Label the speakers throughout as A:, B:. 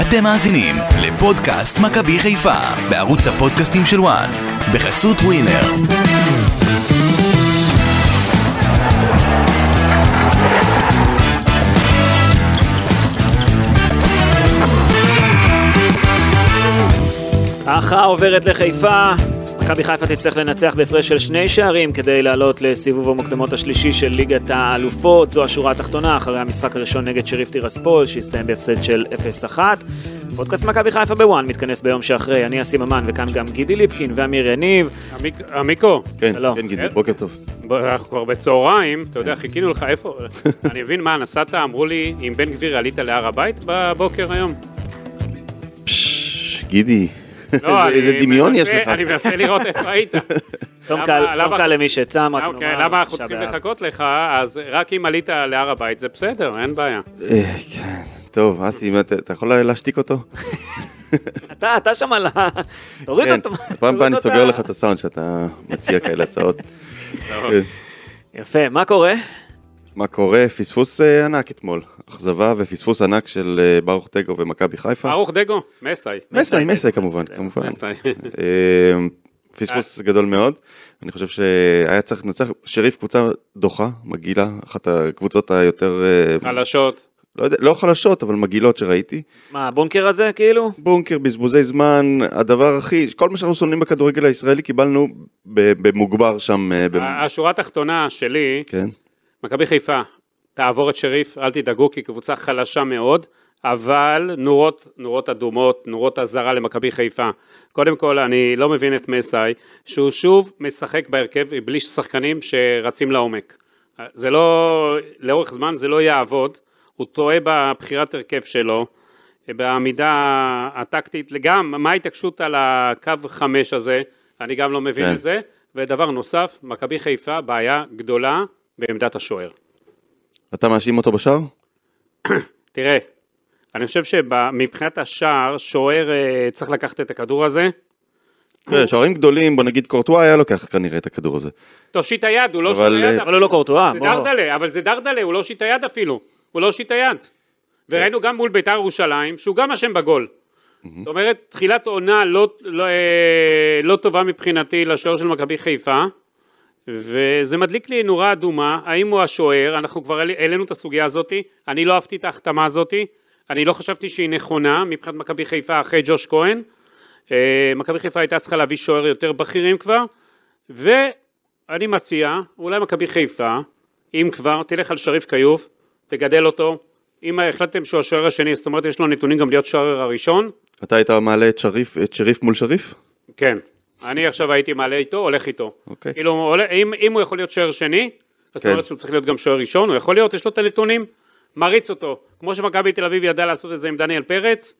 A: אתם מאזינים לפודקאסט מכבי חיפה בערוץ הפודקאסטים של וואן בחסות ווינר.
B: ההכרעה עוברת לחיפה. מכבי חיפה תצטרך לנצח בהפרש של שני שערים כדי לעלות לסיבוב המוקדמות השלישי של ליגת האלופות. זו השורה התחתונה אחרי המשחק הראשון נגד שריף טירספול שהסתיים בהפסד של 0-1. פודקאסט מכבי חיפה בוואן מתכנס ביום שאחרי. אני אסי ממן וכאן גם גידי ליפקין ואמיר יניב.
C: עמיק- עמיקו,
D: כן,
B: שלום.
D: כן גידי, בוקר טוב.
C: ב- אנחנו כבר בצהריים, אתה יודע, חיכינו לך איפה, אני מבין מה, נסעת, אמרו לי, עם בן גביר עלית להר הבית בבוקר היום?
D: פשש, גידי,
C: לא,
D: איזה- איזה
C: אני
D: דמיון יש
C: מנסה-
D: לך.
C: אני מנסה לראות איפה היית.
B: צום
C: למה-
B: קל צום
C: למה-
B: קל למי שצם, רק
C: אוקיי,
B: נאמר,
C: למה אנחנו
B: תשעה
C: צריכים
B: באב.
C: לחכות לך, אז רק אם עלית להר הבית זה בסדר, אין בעיה.
D: אה, כן. טוב, אסי, מה, אתה אתה יכול להשתיק אותו?
B: אתה, אתה שם על ה... תוריד
D: כן,
B: אותו.
D: פעם
C: לא
B: תוריד
D: הבאה אני
B: אותו.
D: סוגר לך את הסאונד שאתה מציע כאלה הצעות. כן.
B: יפה, מה קורה?
D: מה קורה? פספוס אה, ענק אתמול. אכזבה ופספוס ענק של אה, ברוך טגו ומכבי חיפה.
C: ברוך כן, דגו, מסאי.
D: מסי, מסי כמובן, כמובן.
C: מסאי.
D: אה, פספוס גדול מאוד. אני חושב שהיה צריך לנצח, שריף קבוצה דוחה, מגעילה, אחת הקבוצות היותר, אה,
C: חלשות.
D: לא יודע, לא חלשות, אבל מגעילות שראיתי.
B: מה, הבונקר הזה, כאילו?
D: בונקר, בזבוזי זמן, הדבר הכי, כל מה שאנחנו שונאים בכדורגל הישראלי קיבלנו ב- במוגבר שם. אה, ב-
C: ה- השורה התחתונה שלי,
D: כן.
C: מכבי חיפה, תעבור את שריף, אל תדאגו, כי קבוצה חלשה מאוד, אבל נורות, נורות אדומות, נורות אזהרה למכבי חיפה. קודם כל, אני לא מבין את מסאי, שהוא שוב משחק בהרכב בלי שחקנים שרצים לעומק. זה לא, לאורך זמן זה לא יעבוד, הוא טועה בבחירת הרכב שלו, בעמידה הטקטית, גם מה ההתעקשות על הקו חמש הזה, אני גם לא מבין
D: כן.
C: כן. את זה. ודבר נוסף, מכבי חיפה, בעיה גדולה בעמדת השוער.
D: אתה מאשים אותו בשער?
C: תראה, אני חושב שמבחינת השער, שוער אה, צריך לקחת את הכדור הזה.
D: תראה, אה, שוערים גדולים, בוא נגיד קורטואה היה לוקח כנראה את הכדור הזה.
C: תושיט היד, הוא לא
D: אבל,
C: שיט היד.
B: אבל הוא לא קורטואה,
C: זה
B: בוא.
C: דרדלה, אבל זה דרדלה, הוא לא שיט היד אפילו. הוא לא שיט היד. וראינו גם מול ביתר ירושלים, שהוא גם אשם בגול. זאת אומרת, תחילת עונה לא, לא, אה, לא טובה מבחינתי לשוער של מכבי חיפה, וזה מדליק לי נורה אדומה, האם הוא השוער, אנחנו כבר העל- העלינו את הסוגיה הזאת, אני לא אהבתי את ההחתמה הזאת, אני לא חשבתי שהיא נכונה מבחינת מכבי חיפה אחרי ג'וש כהן, אה, מכבי חיפה הייתה צריכה להביא שוער יותר בכירים כבר, ואני מציע, אולי מכבי חיפה, אם כבר, תלך על שריף כיוף, תגדל אותו. אם החלטתם שהוא השוער השני, זאת אומרת יש לו נתונים גם להיות שוער הראשון,
D: אתה היית מעלה את שריף, את שריף מול שריף?
C: כן. אני עכשיו הייתי מעלה איתו, הולך איתו.
D: אוקיי.
C: כאילו, הוא עולה- אם, אם הוא יכול להיות שוער שני, אז זאת
D: כן.
C: אומרת שהוא צריך להיות גם שוער ראשון, הוא יכול להיות, יש לו את הנתונים, מריץ אותו. כמו שמכבי תל אביב ידעה לעשות את זה עם דניאל פרץ,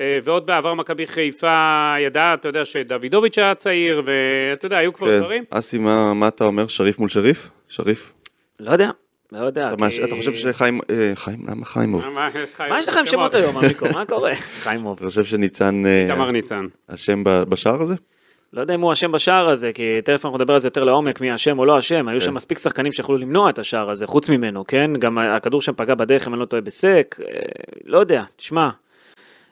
C: אה, ועוד בעבר מכבי חיפה ידעה, אתה יודע, שדוידוביץ' היה צעיר, ואתה יודע, היו כבר
D: כן.
C: דברים.
D: אסי, מה מה אתה אומר? שריף מול שריף? שריף?
B: לא יודע, לא יודע.
D: אתה
B: כי-
D: מאש- אתה חושב שחיים, אה, חיים, למה חיימוב?
C: מה יש לך
B: מה יש לך עם שמות היום, עמיקו? מה קורה? חיימוב.
D: אתה חושב שניצן אה,
C: איתמר ניצן.
D: אשם ב- בשער הזה?
B: לא יודע אם הוא אשם בשער הזה, כי תכף אנחנו נדבר על זה יותר לעומק, מי אשם או לא אשם.
D: כן.
B: היו שם מספיק שחקנים שיכולו למנוע את השער הזה, חוץ ממנו, כן? גם הכדור שם פגע בדרך, אם אני לא טועה, בסק. אה, לא יודע, תשמע.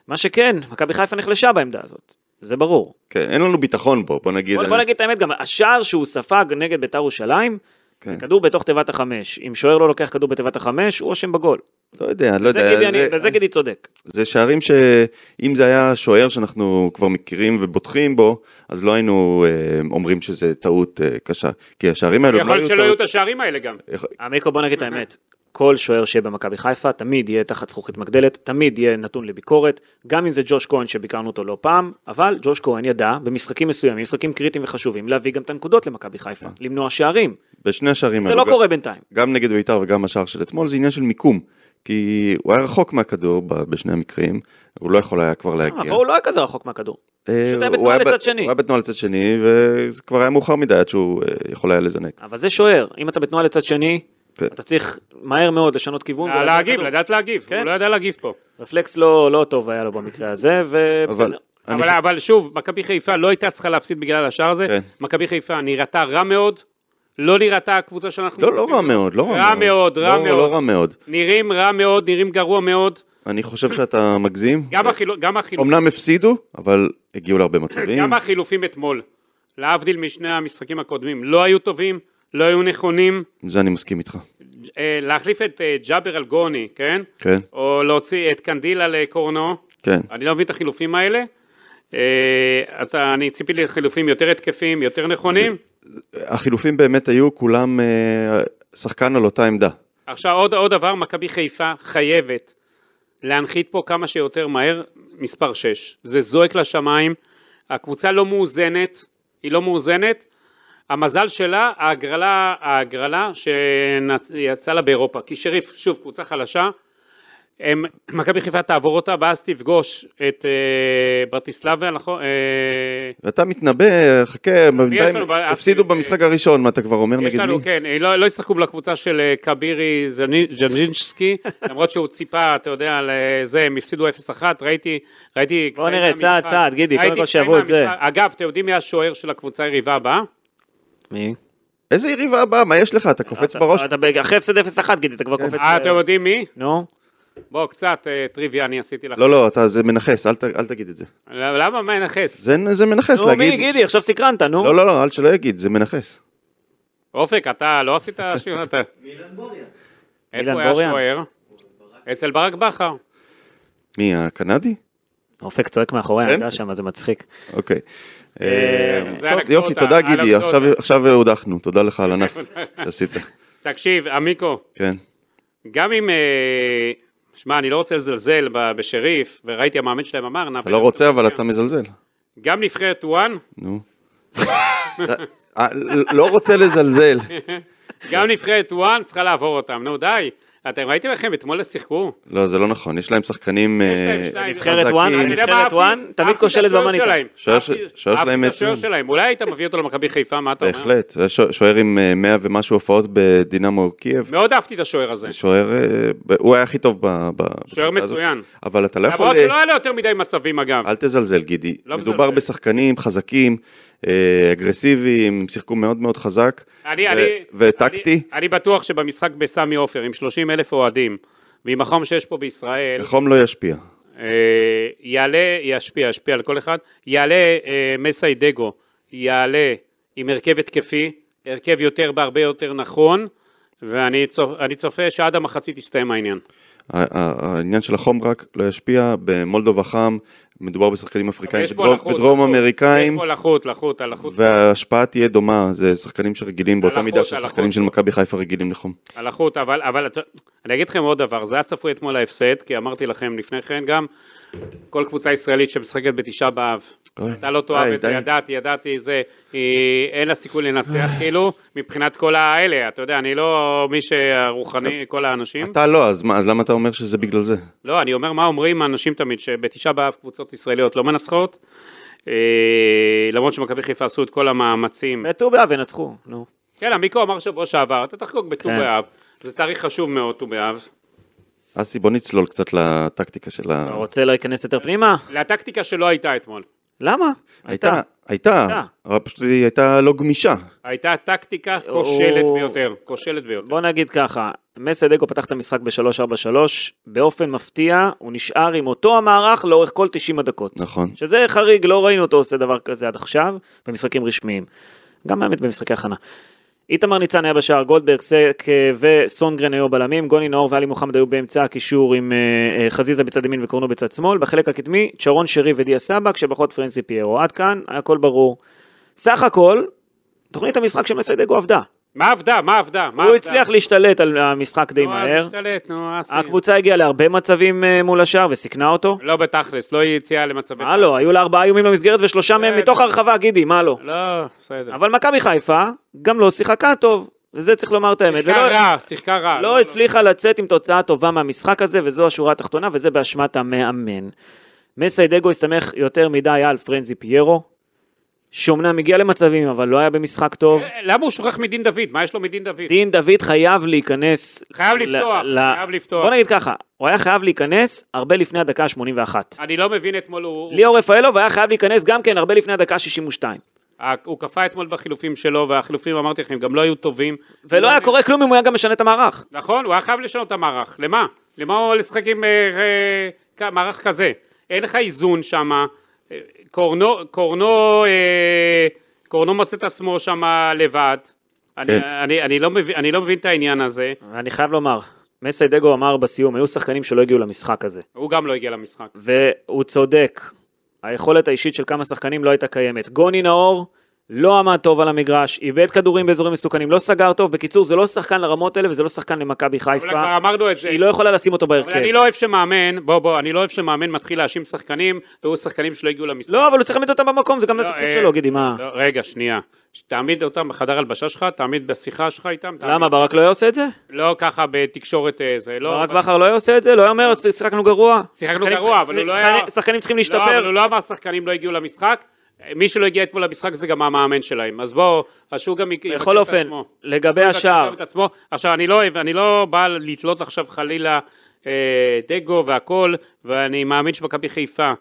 B: מה שכן, מכבי חיפה נחלשה בעמדה הזאת. זה ברור.
D: כן, אין לנו ביטחון בו, בוא נגיד.
B: בוא, בוא
D: אני-
B: נגיד את האמת, גם השער שהוא ספג נגד בית"ר ירושלים, זה
D: כן.
B: כדור בתוך תיבת החמש. אם שוער לא לוקח כדור בתיבת החמש, הוא אשם בגול.
D: לא יודע, לא
B: זה
D: יודע.
B: גידי, אני-
D: זה-
B: בזה גידי צודק.
D: זה שערים שאם זה היה שוער שאנחנו כבר מכירים ובוטחים בו, אז לא היינו אה, אומרים שזה טעות אה, קשה. כי השערים האלו לא
C: יכול להיות שלא יהיו את
D: טעות.
C: השערים האלה גם.
B: עמיקו, בוא נגיד
D: אוקיי.
B: את האמת. כל שוער שיהיה במכבי חיפה, תמיד יהיה תחת זכוכית מגדלת, תמיד יהיה נתון לביקורת, גם אם זה ג'וש כהן שביקרנו אותו לא פעם, אבל ג'וש כהן ידע במשחקים מסוימים, משחקים קריטיים וחשובים, להביא גם את הנקודות למכבי חיפה,
D: כן.
B: למנוע שערים.
D: בשני השערים
B: זה
D: האלו,
B: לא
D: גם-
B: קורה בינתיים.
D: גם נגד בית"ר וגם השער של אתמול, זה עניין של מיקום. כי הוא היה רחוק מהכדור ב- בשני המקרים, הוא לא יכול היה כבר
B: אה,
D: להגיע.
B: פה הוא לא היה כזה רחוק מהכדור.
D: אה,
B: פשוט היה
D: הוא
B: בתנועה
D: ב-
B: לצד שני.
D: הוא היה בתנועה לצד שני, וזה כבר היה מאוחר מדי עד שהוא אה, יכול היה לזנק.
B: אבל זה שוער, אם אתה בתנועה לצד שני,
D: כן. אה,
B: אתה צריך מהר מאוד לשנות כיוון. ולהביא את
C: להגיב,
B: הכדור.
C: לדעת להגיב.
B: לא כן.
C: הוא לא ידע להגיב פה.
B: רפלקס לא לא טוב היה לו במקרה הזה,
D: אבל
B: ובסדר.
D: אני
C: אבל,
D: חושב-
C: אבל שוב, מכבי חיפה לא הייתה צריכה להפסיד בגלל השער הזה.
D: כן.
C: מכבי חיפה נראתה רע מאוד, לא נראתה הקבוצה שאנחנו...
D: לא, לא רע
C: מצפים לה.
D: מאוד, לא רע מאוד.
C: רע מאוד, רע
D: לא-
C: מאוד.
D: לא רע מאוד.
C: נראים רע מאוד, נראים גרוע מאוד.
D: אני חושב שאתה מגזים. אה,
C: גם החילו- גם החילופים.
D: כן. אמנם הפסידו, אבל הגיעו להרבה מצבים.
C: כאילו- גם החילופים אתמול, להבדיל משני המשחקים הקודמים, לא היו טובים, לא היו נכונים.
D: עם זה אני מסכים איתך.
C: אה, להחליף את אה, ג'אבר על גוני, כן?
D: כן,
C: או להוציא את קנדיל על אה, קורנו.
D: כן.
C: אני לא מבין את החילופים האלה. אה, אתה, אני ציפיתי לחילופים יותר התקפים, יותר נכונים.
D: החילופים באמת היו כולם אה, שחקן על אותה עמדה.
C: עכשיו עוד, עוד דבר, מכבי חיפה חייבת להנחית פה כמה שיותר מהר מספר 6. זה זועק לשמיים, הקבוצה לא מאוזנת, היא לא מאוזנת. המזל שלה, ההגרלה, ההגרלה שיצאה לה באירופה, כי שריף, שוב, קבוצה חלשה, הם, מכבי חיפה תעבור אותה ואז תפגוש את אה, ברטיסלבה, נכון? אה,
D: ואתה מתנבא, חכה, בינתיים
C: לנו בעיה-
D: הפסידו במשחק הראשון, מה אתה כבר אומר
C: יש
D: נגד
C: לנו,
D: מי?
C: כן, אה, לא, לא ישחקו לקבוצה של אה, קבירי ז'ני- ז'נז'ינסקי, למרות שהוא ציפה, אתה יודע, לזה, הם הפסידו 0-1, ראיתי, ראיתי...
B: בוא
C: קטעים
B: נראה, צעד,
C: מהמשחק.
B: צעד, גידי, קודם
C: ראיתי
B: כל שיעברו
C: קטעים
B: את זה.
C: מהמשחק. אגב, אתם יודעים מי השוער של הקבוצה היריבה הבאה?
B: מי?
D: איזה יריבה הבאה, מה יש לך? אתה קופץ
B: אתה-
D: בראש? כן.
B: אתה ב- אחרי הפסד 0-1, גידי, אתה כבר קופץ...
C: אה,
B: ל-
C: אתם יודעים מי?
B: נו,
C: בוא, קצת אה, טריוויה אני עשיתי לך. לא,
D: לא, לא, אתה זה מנכס, אל ת- אל תגיד את זה.
C: למה, מה נכס?
D: זה זה מנכס
B: נו, מי,
D: להגיד.
B: גידי, עכשיו סקרנת, נו.
D: לא, לא, לא, אל שלא יגיד, זה מנכס.
C: אופק, אתה לא עשית שיר? אתה- איפה
B: אילן
C: הוא היה
B: בוריאן.
C: שוער? אצל ברק בכר.
D: מי, הקנדי?
B: אופק צועק מאחורי
D: כן?
B: העמדה שם, זה מצחיק.
D: אוקיי.
C: אה,
D: אה,
C: זה
D: טוב,
C: אנקדוטה,
D: יופי, תודה גידי,
C: אנקדוטה.
D: עכשיו- עכשיו הודחנו, תודה לך על הנכס שעשית.
C: תקשיב, עמיקו,
D: כן,
C: גם אם, אה, שמע, אני לא רוצה לזלזל ב- בשריף, וראיתי המאמן שלהם אמר,
D: אתה לא רוצה אבל אתה מזלזל.
C: גם נבחרת טואן,
D: נו. אה, לא רוצה לזלזל.
C: גם נבחרת טואן צריכה לעבור אותם, נו די. אתם ראיתם איך הם אתמול שיחקו?
D: לא, זה לא נכון, יש להם שחקנים
C: להם
D: אה,
C: שניים.
B: נבחרת
D: חזקים.
B: וואן,
C: אתה יודע מה,
B: נבחרת
C: אהבתי-
B: וואן,
C: אהבתי
B: תמיד
C: את
B: כושלת
C: השוער
B: במאניטה.
C: שלהם.
D: שוער
C: אהבתי-
D: ש- שוער
C: אהבתי
D: שלהם
C: את השוער
D: מצוין.
C: שלהם, אולי היית מביא אותו למכבי חיפה, מה אתה אומר?
D: בהחלט, זה שוע- שוער עם אה, 100 ומשהו הופעות בדינמו קייב.
C: מאוד אהבתי את השוער הזה.
D: זה שוער, אה, ב- הוא היה הכי טוב ב- ב- בקבוצה
C: שוער
D: הזאת.
C: מצוין.
D: אבל אתה לא
C: למרות
D: יכול...
C: שלא היה לו יותר מדי מצבים אגב.
D: אל תזלזל גידי,
C: לא
D: מדובר
C: מזלזל.
D: בשחקנים חזקים, אה, אגרסיביים, שיחקו מאוד מאוד חזק,
C: אני,
D: ו-
C: אני,
D: וטקטי,
C: אני, אני בטוח שבמשחק בסמי עופר, עם 30 אלף אוהדים, ועם החום שיש פה בישראל,
D: חום לא ישפיע.
C: אה, יעלה, ישפיע, ישפיע על כל אחד, יעלה אה, מסי דגו, יעלה עם הרכב התקפי, הרכב יותר בהרבה יותר נכון, ואני צופ, אני צופה שעד המחצית יסתיים העניין.
D: ה- ה- העניין של החום רק לא ישפיע, במולדובה חם, מדובר בשחקנים אפריקאים
C: יש פה
D: ודרום-
C: לחות,
D: ודרום
C: לחות.
D: אמריקאים,
C: יש פה לחות, לחות, הלחות,
D: וההשפעה תהיה דומה, זה שחקנים שרגילים באותה
C: הלחות,
D: מידה שהשחקנים
C: הלחות.
D: של מכבי חיפה רגילים לחום.
C: הלחות, אבל, אבל אתה- אני אגיד לכם עוד דבר, זה היה צפוי אתמול ההפסד, כי אמרתי לכם לפני כן גם, כל קבוצה ישראלית שמשחקת בתשעה באב,
D: אוי,
C: אתה לא תאהב
D: די,
C: את זה,
D: די.
C: ידעתי, ידעתי, זה, היא- אין לה סיכוי לנצח,
B: אה.
C: כאילו, מבחינת כל האלה, אתה יודע, אני לא מי שהרוחני, כל האנשים.
D: אתה לא, אז מה, אז למה אתה אומר שזה בגלל זה?
C: לא, אני אומר מה אומרים האנשים תמיד, שבתשעה באב קבוצות ישראליות לא מנצחות, אה, למרות שמכבי חיפה עשו את כל המאמצים.
B: בט"ו באב ינצחו, נו.
C: כן, עמיקו אמר שבוע שעבר, אתה תחגוג בט"ו
B: כן.
C: באב, זה תאריך חשוב מאוד, ט"ו באב.
D: אסי, בוא נצלול קצת לטקטיקה של ה...
B: אתה רוצה להיכנס יותר פנימה?
C: לטקטיקה שלא הייתה אתמול.
B: למה?
D: הייתה, הייתה, אבל פשוט היא הייתה לא גמישה.
C: הייתה טקטיקה כושלת
B: או-
C: ביותר, כושלת ביותר.
B: בוא נגיד ככה, מסדגו פתח את המשחק ב-3-4-3, באופן מפתיע הוא נשאר עם אותו המערך לאורך כל 90 הדקות.
D: נכון.
B: שזה חריג, לא ראינו אותו עושה דבר כזה עד עכשיו, במשחקים רשמיים. גם האמת במשחקי הכנה. איתמר ניצן היה בשער, גולדברג, סק אה, וסונגרן היו בלמים, גוני נאור ואלי מוחמד היו באמצע הקישור עם אה, אה, חזיזה בצד ימין וקורנו בצד שמאל, בחלק הקדמי, שרון שרי ודיה סבא, כשבחוט פרנסי פיירו. עד כאן, הכל ברור. סך הכל, תוכנית המשחק של מסיידגו עבדה.
C: מה עבדה? מה עבדה? מה
B: הוא
C: עבדה?
B: הצליח להשתלט על המשחק די
C: נו, אז
B: מהר.
C: השתלט, נו, אסי.
B: הקבוצה הגיעה להרבה מצבים אה, מול השער וסיכנה אותו.
C: לא בתכלס, לא היא יציאה למצבי...
B: מה לא, היו לה ארבעה איומים במסגרת ושלושה מהם
C: כן.
B: מתוך הרחבה, גידי, מה לא.
C: לא, בסדר.
B: אבל מכבי חיפה גם לא שיחקה טוב, וזה צריך לומר את האמת.
C: שיחקה
B: ולא-
C: רע, שיחקה רע.
B: לא הצליחה לצאת עם תוצאה טובה מהמשחק הזה, וזו השורה התחתונה, וזה באשמת המאמן. מסיידגו הסתמך יותר מדי על פרנזי פיירו, שאומנם הגיע למצבים, אבל לא היה במשחק טוב.
C: אה, למה הוא שוכח מדין דוד? מה יש לו מדין דוד?
B: דין דוד חייב להיכנס...
C: חייב
B: ל-
C: לפתוח,
B: ל-
C: חייב לפתוח.
B: בוא נגיד ככה, הוא היה חייב להיכנס הרבה לפני הדקה ה-81.
C: אני לא מבין אתמול הוא...
B: ליאור רפאלוב היה חייב להיכנס גם כן הרבה לפני הדקה ה-62.
C: ה- הוא קפא אתמול בחילופים שלו, והחילופים, אמרתי לכם, גם לא היו טובים.
B: ולא היה קורה כלום אם הוא היה גם משנה את המערך.
C: נכון, הוא היה חייב לשנות את המערך. למה? למה הוא לשחק עם אה, אה, כ- מערך כזה? אין לך איזון שם. אה, קורנו, קורנו, אה, קורנו מוצא את עצמו שם לבד. אני,
D: כן.
C: אני, אני, לא מבין, אני לא מבין את העניין הזה.
B: אני חייב לומר, מסיידגו אמר בסיום, היו שחקנים שלא הגיעו למשחק הזה.
C: הוא גם לא הגיע למשחק.
B: והוא צודק. היכולת האישית של כמה שחקנים לא הייתה קיימת. גוני נאור לא עמד טוב על המגרש, איבד כדורים באזורים מסוכנים, לא סגר טוב. בקיצור, זה לא שחקן לרמות האלה וזה לא שחקן למכבי
C: אבל
B: חיפה.
C: כבר אמרנו את זה.
B: היא לא יכולה לשים אותו בהרכב.
C: אבל אני לא אוהב שמאמן, בוא בוא, אני לא אוהב שמאמן מתחיל להאשים שחקנים, והוא שחקנים שלא הגיעו למשחק.
B: לא, אבל הוא צריך להעמיד אותם במקום, זה גם
C: לא,
B: התפקיד
C: אה,
B: שלו, גידי, מה?
C: לא, רגע, שנייה. תעמיד אותם בחדר הלבשה שלך, תעמיד בשיחה שלך איתם. תעמיד-
B: למה, ברק לא היה עושה את זה?
C: לא ככה בתקשורת אה, זה, לא.
B: ברק בכר לא היה עושה את זה? לא היה אומר, "אז שיחקנו גרוע?
C: שיחקנו
B: שחקנים
C: גרוע,
B: צריכים-
C: אבל הוא לא היה-
B: שחקנים צריכים
C: לא, אבל
B: להשתפר.
C: הוא לא אמר שחקנים לא הגיעו למשחק. מי שלא הגיע אתמול למשחק זה גם המאמן שלהם. אז בואו, אז שהוא גם יק- יבקר
B: בכל
C: את
B: אופן,
C: לא עצמו.
B: לגבי
C: שהוא גם
B: השער,
C: יבקר את עצמו. עכשיו, אני לא אוהב, אני לא בא לתלות עכשיו חלילה אה, דגו והכל, ואני מאמין שמכבי חיפה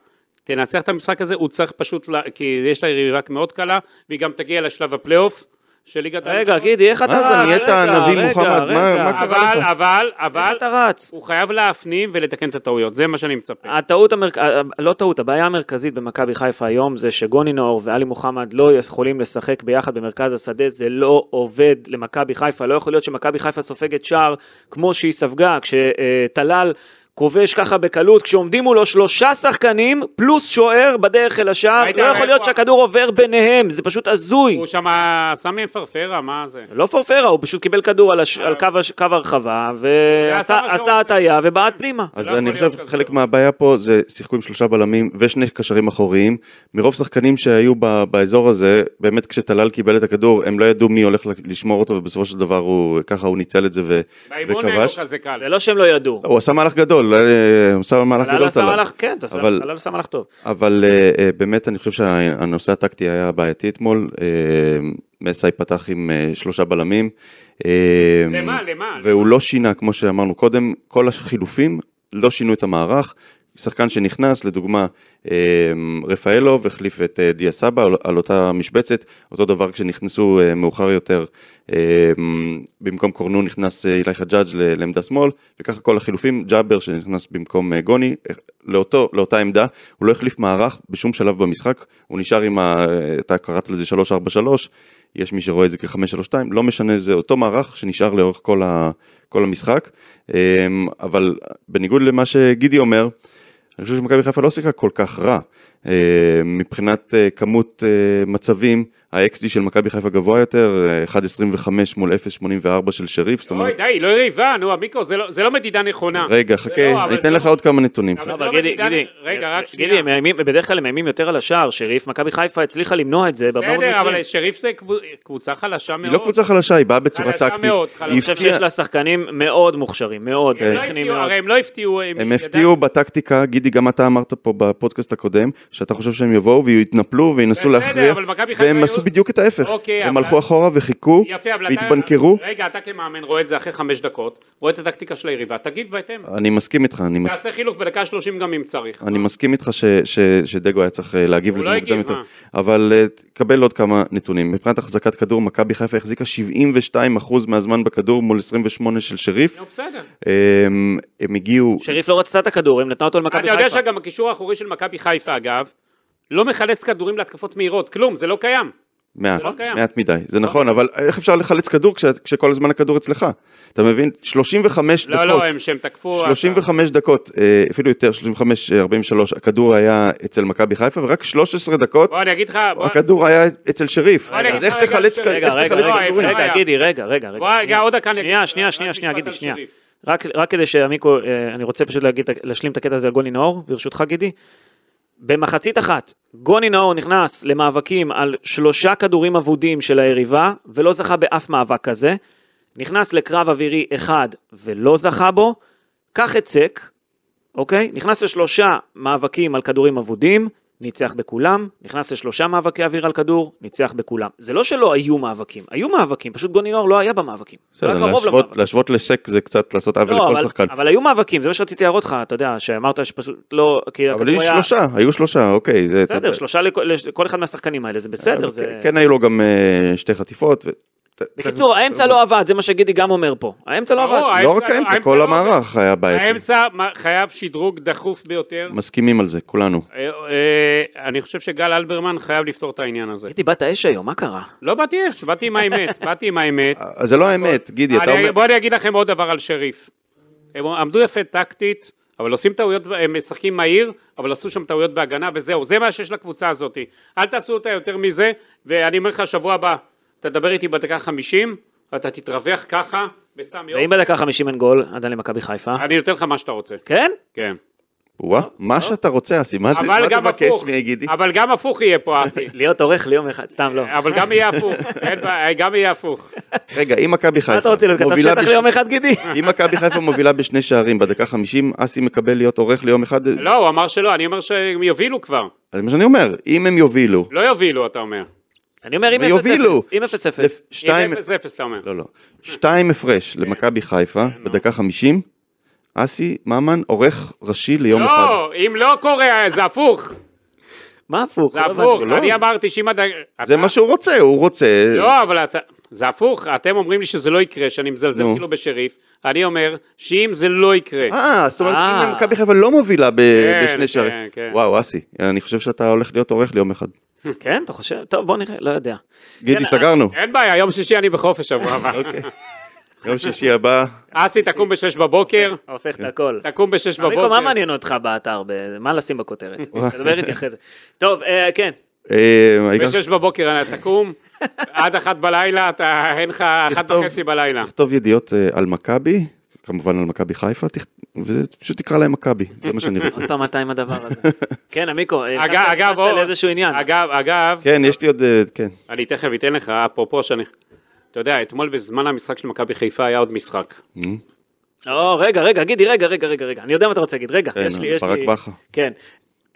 C: תנצח את המשחק הזה, הוא צריך פשוט, לה- כי יש לה יריבה מאוד קלה, והיא גם תגיע לשלב הפלייאוף של ליגת
B: רגע,
C: האלופות.
B: גידי, איך אתה
D: מה
B: רץ?
D: זה, נהיית
B: רגע,
D: הנביא
B: רגע,
D: מוחמד, מה-
B: רגע.
D: מה קרה?
C: אבל, אבל, אבל,
B: איך אתה רץ?
C: הוא חייב להפנים ולתקן את הטעויות, זה מה שאני מצפה.
B: הטעות, המרכ... ה- ה- לא טעות, הבעיה המרכזית במכבי חיפה היום זה שגוני נאור ואלי מוחמד לא יכולים לשחק ביחד במרכז השדה, זה לא עובד למכבי חיפה, לא יכול להיות שמכבי חיפה סופגת שער כמו שהיא ספגה, כשטלל כובש ככה בקלות, כשעומדים מולו שלושה שחקנים פלוס שוער בדרך אל השער,
C: ראית,
B: לא יכול
C: ראית,
B: להיות
C: וואו.
B: שהכדור עובר ביניהם, זה פשוט הזוי.
C: הוא שם שם מהם פרפרה, מה זה?
B: לא פורפרה, הוא פשוט קיבל כדור על, הש...
C: אה.
B: על קו, הש... קו הרחבה,
C: עשה מה שהוא
B: ועשה
C: רוצה.
B: הטעיה ובעט פנימה.
D: אז
C: לא יכול
D: אני
C: להיות
D: חושב
C: כזה
D: חלק
C: דבר.
D: מהבעיה פה זה שיחקו עם שלושה בלמים ושני קשרים אחוריים. מרוב שחקנים שהיו ב- באזור הזה, באמת כשטלל קיבל את הכדור, הם לא ידעו מי הולך לשמור אותו, ובסופו של דבר הוא, ככה הוא ניצל את זה ו-
C: באימון אין לו
D: וכבש.
C: כזה קל.
B: זה לא שהם לא ידעו.
D: לא, הוא עשה מהלך גדול, אה, הוא עשה מהלך
B: טלל
D: גדול
B: עשה
D: טלל.
B: מהלך, כן, אתה עשה-
D: אבל-
B: טלל עשה מהלך טוב.
D: אבל אה, אה, באמת אני חושב שהנושא הטקטי היה בעייתי אתמול. אה, מסאי פתח עם אה, שלושה בלמים. אה,
C: למה, למה?
D: והוא לא שינה, כמו שאמרנו קודם, כל החילופים לא שינו את המערך. שחקן שנכנס, לדוגמה, אה, רפאלוב החליף את אה, דיה סבא על- על אותה משבצת, אותו דבר כשנכנסו אה, מאוחר יותר, אה, במקום קורנו נכנס אה, אילי חג'אג' ל- לעמדה שמאל, וככה כל החילופים, ג'אבר שנכנס במקום אה, גוני, אה, לאותו, לאותה עמדה, הוא לא החליף מערך בשום שלב במשחק, הוא נשאר עם, ה, אתה קראת לזה 3-4-3, יש מי שרואה את זה כ-5-3-2, לא משנה, זה אותו מערך שנשאר לאורך כל, ה, כל המשחק, אמ, אבל בניגוד למה שגידי אומר, אני חושב שמכבי חיפה לא שיחקה כל כך רע. אמ, מבחינת אה, כמות אה, מצבים, ה-XD של מכבי חיפה גבוה יותר, אה, 1.25 מול 0.84 של שריף, זאת
C: אוי,
D: אומרת,
C: די, לא יריבה, נו, המיקו, זה לא- זה לא מדידה נכונה.
D: רגע, חכה,
C: לא, אבל
D: אני
C: זה
D: אתן לך
C: לא-
D: עוד כמה נתונים.
C: אבל
B: לא,
C: זה
B: אבל
C: לא
B: גידי,
C: מדידה-
B: גידי,
C: רגע, רק שנייה.
B: גידי, הם מאיימים- בדרך כלל הם מאיימים יותר על השער, שריף, מכבי חיפה הצליחה למנוע את זה בהרבה מאוד
C: בסדר,
B: מקרים.
C: אבל
B: אני
C: שריף זה קבו- קבוצה חלשה מאוד.
D: היא לא קבוצה חלשה, היא באה בצורה
C: חלשה
D: טקטית.
C: מאוד, חלשה.
D: היא
C: אני
B: חושב
D: הפציעה-
B: שיש לה שחקנים מאוד מוכשרים, מאוד,
C: הם לא
B: טכניים
C: הפתיעו,
B: מאוד.
C: הרי הם לא הפתיעו.
D: הם הפתיעו בטקטיקה, גידי, גם אתה אמרת פה בפודקאסט הקודם, שאתה חושב שהם יבואו ויתנפלו וינסו
C: בסדר,
D: להכריע,
C: אבל מכבי חיפה
D: והם
C: היו-
D: עשו בדיוק את ההפך.
C: אוקיי,
D: הם
C: אבל-
D: הלכו אחורה וחיכו,
C: יפה, אבל אתה...
D: והתבנקרו.
C: רגע, אתה כמאמן רואה את זה אחרי חמש דקות, רואה את הטקטיקה של היריבה, תגיב בהתאם.
D: אני אה, מסכים איתך, אני מס-
C: תעשה חילוף בדקה שלושים גם אם צריך.
D: אני מסכים איתך ש- ש- שדגו היה צריך אה, להגיב
C: הוא
D: לזה
C: לא
D: מוקדם
C: הגיב,
D: יותר. אבל אה, תקבל עוד כמה נתונים. מבחינת החזקת כדור, מכבי חיפה החזיקה 72% מהזמן בכדור מול 28 של שריף.
C: נו, בסדר.
D: אמ, הם הגיעו...
B: שריף לא רצתה את הכדור, הם נתנה אותו למכבי
C: אתה יודע
B: חיפה.
C: שגם הקישור האחורי של מכבי חיפה, אגב, לא מחלץ כדורים להתקפות מהירות, כלום, זה לא קיים.
D: מעט,
C: זה לא קיים.
D: מעט מדי, זה נכון, אבל איך אפשר לחלץ כדור כש- כשכל הזמן הכדור אצלך? אתה מבין? 35
C: לא,
D: דקות,
C: לא, הם שהם תקפו...
D: 35 דקות, אה, אפילו יותר, 35-43, הכדור היה אצל מכבי חיפה, ורק 13 דקות
C: בוא, אני אגיד לך... בוא-
D: הכדור היה אצל שריף.
C: בוא, אני
D: אז
C: אגיד
D: איך
C: לך רגע,
D: תחלץ כ-
C: רגע,
D: איך
B: רגע, רגע,
D: תחלץ
C: לא,
D: כדורים?
B: רגע,
C: אפשר היה.
B: רגע, גידי, רגע, רגע, רגע.
C: בוא, רגע, עוד דקה אני
B: שנייה,
C: אגיד-
B: שנייה,
C: רק
B: שנייה,
C: משפט
B: שנייה,
C: על
B: גידי, שנייה.
C: שריף.
B: רק, רק כדי שעמיקו, אה, אני רוצה פשוט להגיד, להשלים את הקטע הזה על גוני נאור, ברשותך גידי. במחצית אחת, גוני נאור נכנס למאבקים על שלושה כדורים אבודים של היריבה, ולא זכה באף מאבק כזה. נכנס לקרב אווירי אחד ולא זכה בו. קח את סק, אוקיי? נכנס לשלושה מאבקים על כדורים אבודים, ניצח בכולם, נכנס לשלושה מאבקי אוויר על כדור, ניצח בכולם. זה לא שלא היו מאבקים, היו מאבקים, פשוט גונינור לא היה במאבקים.
D: בסדר,
B: רק קרוב
D: להשוות,
B: למאבק.
D: להשוות לסק זה קצת לעשות עוול
B: לא,
D: לכל
B: אבל,
D: שחקן.
B: אבל היו מאבקים, זה מה שרציתי להראות לך, אתה יודע, שאמרת שפשוט לא, כי
D: אבל
B: הכדור
D: היו שלושה, היו שלושה, אוקיי. זה-
B: בסדר,
D: אתה-
B: שלושה לכל, לכל אחד מהשחקנים האלה, זה בסדר.
D: אבל
B: זה...
D: כן- כן היו לו גם אה, שתי חטיפות. ו-
B: בקיצור, האמצע לא עבד, זה מה שגידי גם אומר פה. האמצע לא
C: ברור,
B: עבד.
C: האמצע
D: לא רק האמצע, כל
C: לא-
D: המערך היה בעייתי.
C: האמצע מה- חייב שדרוג דחוף ביותר.
D: מסכימים על זה, כולנו.
C: אה, אה, אני חושב שגל אלברמן חייב לפתור את העניין הזה.
B: גידי, באת אש היום, מה קרה?
C: לא באתי אש, באתי עם האמת, באתי עם האמת.
D: אה, זה לא האמת, גידי, אתה
C: אני-
D: אומר...
C: בוא אני אגיד לכם עוד דבר על שריף. הם עמדו יפה טקטית, אבל עושים טעויות, הם משחקים מהיר, אבל עשו שם טעויות בהגנה, וזהו, זה מה שיש לקבוצה הזאת. אל תעשו אותה יותר מזה, ואני אומר לך, שבוע הבא, תדבר איתי בדקה חמישים, ואתה תתרווח ככה, בסמי
B: ואם
C: אופן.
B: בדקה 50 אין גול, עדיין למכבי חיפה.
C: אני נותן לך מה שאתה רוצה.
B: כן?
C: כן.
D: וואה, מה שאתה רוצה, אסי, מה
C: אבל
D: מה
C: גם
D: תבקש
C: הפוך,
D: מגידי?
C: אבל גם הפוך יהיה פה, אסי.
B: להיות עורך ליום אחד, סתם לא.
C: אבל גם יהיה הפוך, אין בעיה, גם יהיה הפוך.
D: רגע, אם מכבי
B: מה אתה
D: חיפה
B: רוצה להיות כתב
D: מובילה
B: שטח
D: בש-
B: ליום אחד, גידי?
D: אם מכבי חיפה מובילה בשני שערים בדקה 50, אסי מקבל להיות עורך ליום אחד,
C: לא, הוא אמר שלא, אני אומר שהם יובילו כבר.
D: אז מה שאני אומר, אם הם יובילו,
C: לא יובילו, אתה אומר.
B: אני אומר, אם 0-0,
D: ויובילו.
B: אם 0-0.
D: לפ-
C: שתיים...
D: שתיים,
C: 0-0 אתה אומר.
D: לא, לא, שתיים הפרש למכבי חיפה
C: אה,
D: בדקה 50, אסי ממן עורך ראשי ליום אחד.
C: לא, אם לא קורה, זה הפוך.
B: מה הפוך?
C: זה
B: לא
C: הפוך.
B: הבנתי.
C: אני אמרתי שאם אתה...
D: זה
C: אתה-
D: מה שהוא רוצה, הוא רוצה,
C: לא, אבל אתה... זה הפוך. אתם אומרים לי שזה לא יקרה, שאני מזלזל
D: נו.
C: כאילו בשריף. אני אומר שאם זה לא יקרה...
D: אה, זאת אומרת,
B: אה.
D: אם מכבי חיפה לא מובילה ב-
C: כן,
D: בשני
C: כן,
D: שערים.
C: כן.
D: וואו, אסי, אני חושב שאתה הולך להיות עורך ליום אחד.
B: כן, אתה חושב? טוב, בוא נראה, לא יודע.
D: גידי, סגרנו.
C: אין בעיה, יום שישי אני בחופש שבוע הבא.
D: אוקיי. יום שישי הבא,
C: אסי, תקום בשש בבוקר.
B: הופך את הכל.
C: תקום בשש
D: לא,
B: מיקו, מה
C: בבוקר.
B: מעניין אותך באתר? ב- מה לשים בכותרת? תדבר איתי אחרי זה. טוב, אה, כן.
D: אה, העיקר
C: בשש בבוקר אתה תקום. עד אחת בלילה, אתה... אין לך אחת
D: תכתוב.
C: וחצי בלילה.
D: שתכתוב ידיעות אה, על מכבי, כמובן על מכבי חיפה, תכ- ופשוט תקרא להם מכבי, זה מה שאני רוצה.
B: עוד פעם אתה עם הדבר הזה. כן, עמיקו, אה,
C: אגב,
B: נכנסת-
C: אגב,
B: נכנסת
C: אור-
B: לאיזשהו עניין.
C: אגב, אגב,
D: כן, יש לי עוד, אה, כן.
C: אני תכף אתן לך, אפרופו שאני... אתה יודע, אתמול בזמן המשחק של מכבי חיפה היה עוד משחק.
B: או, לא, רגע, רגע, גידי, רגע, רגע, רגע, רגע, אני יודע מה אתה רוצה להגיד, רגע,
D: כן,
B: יש לי, יש לי...
D: ברק בכר.
B: כן.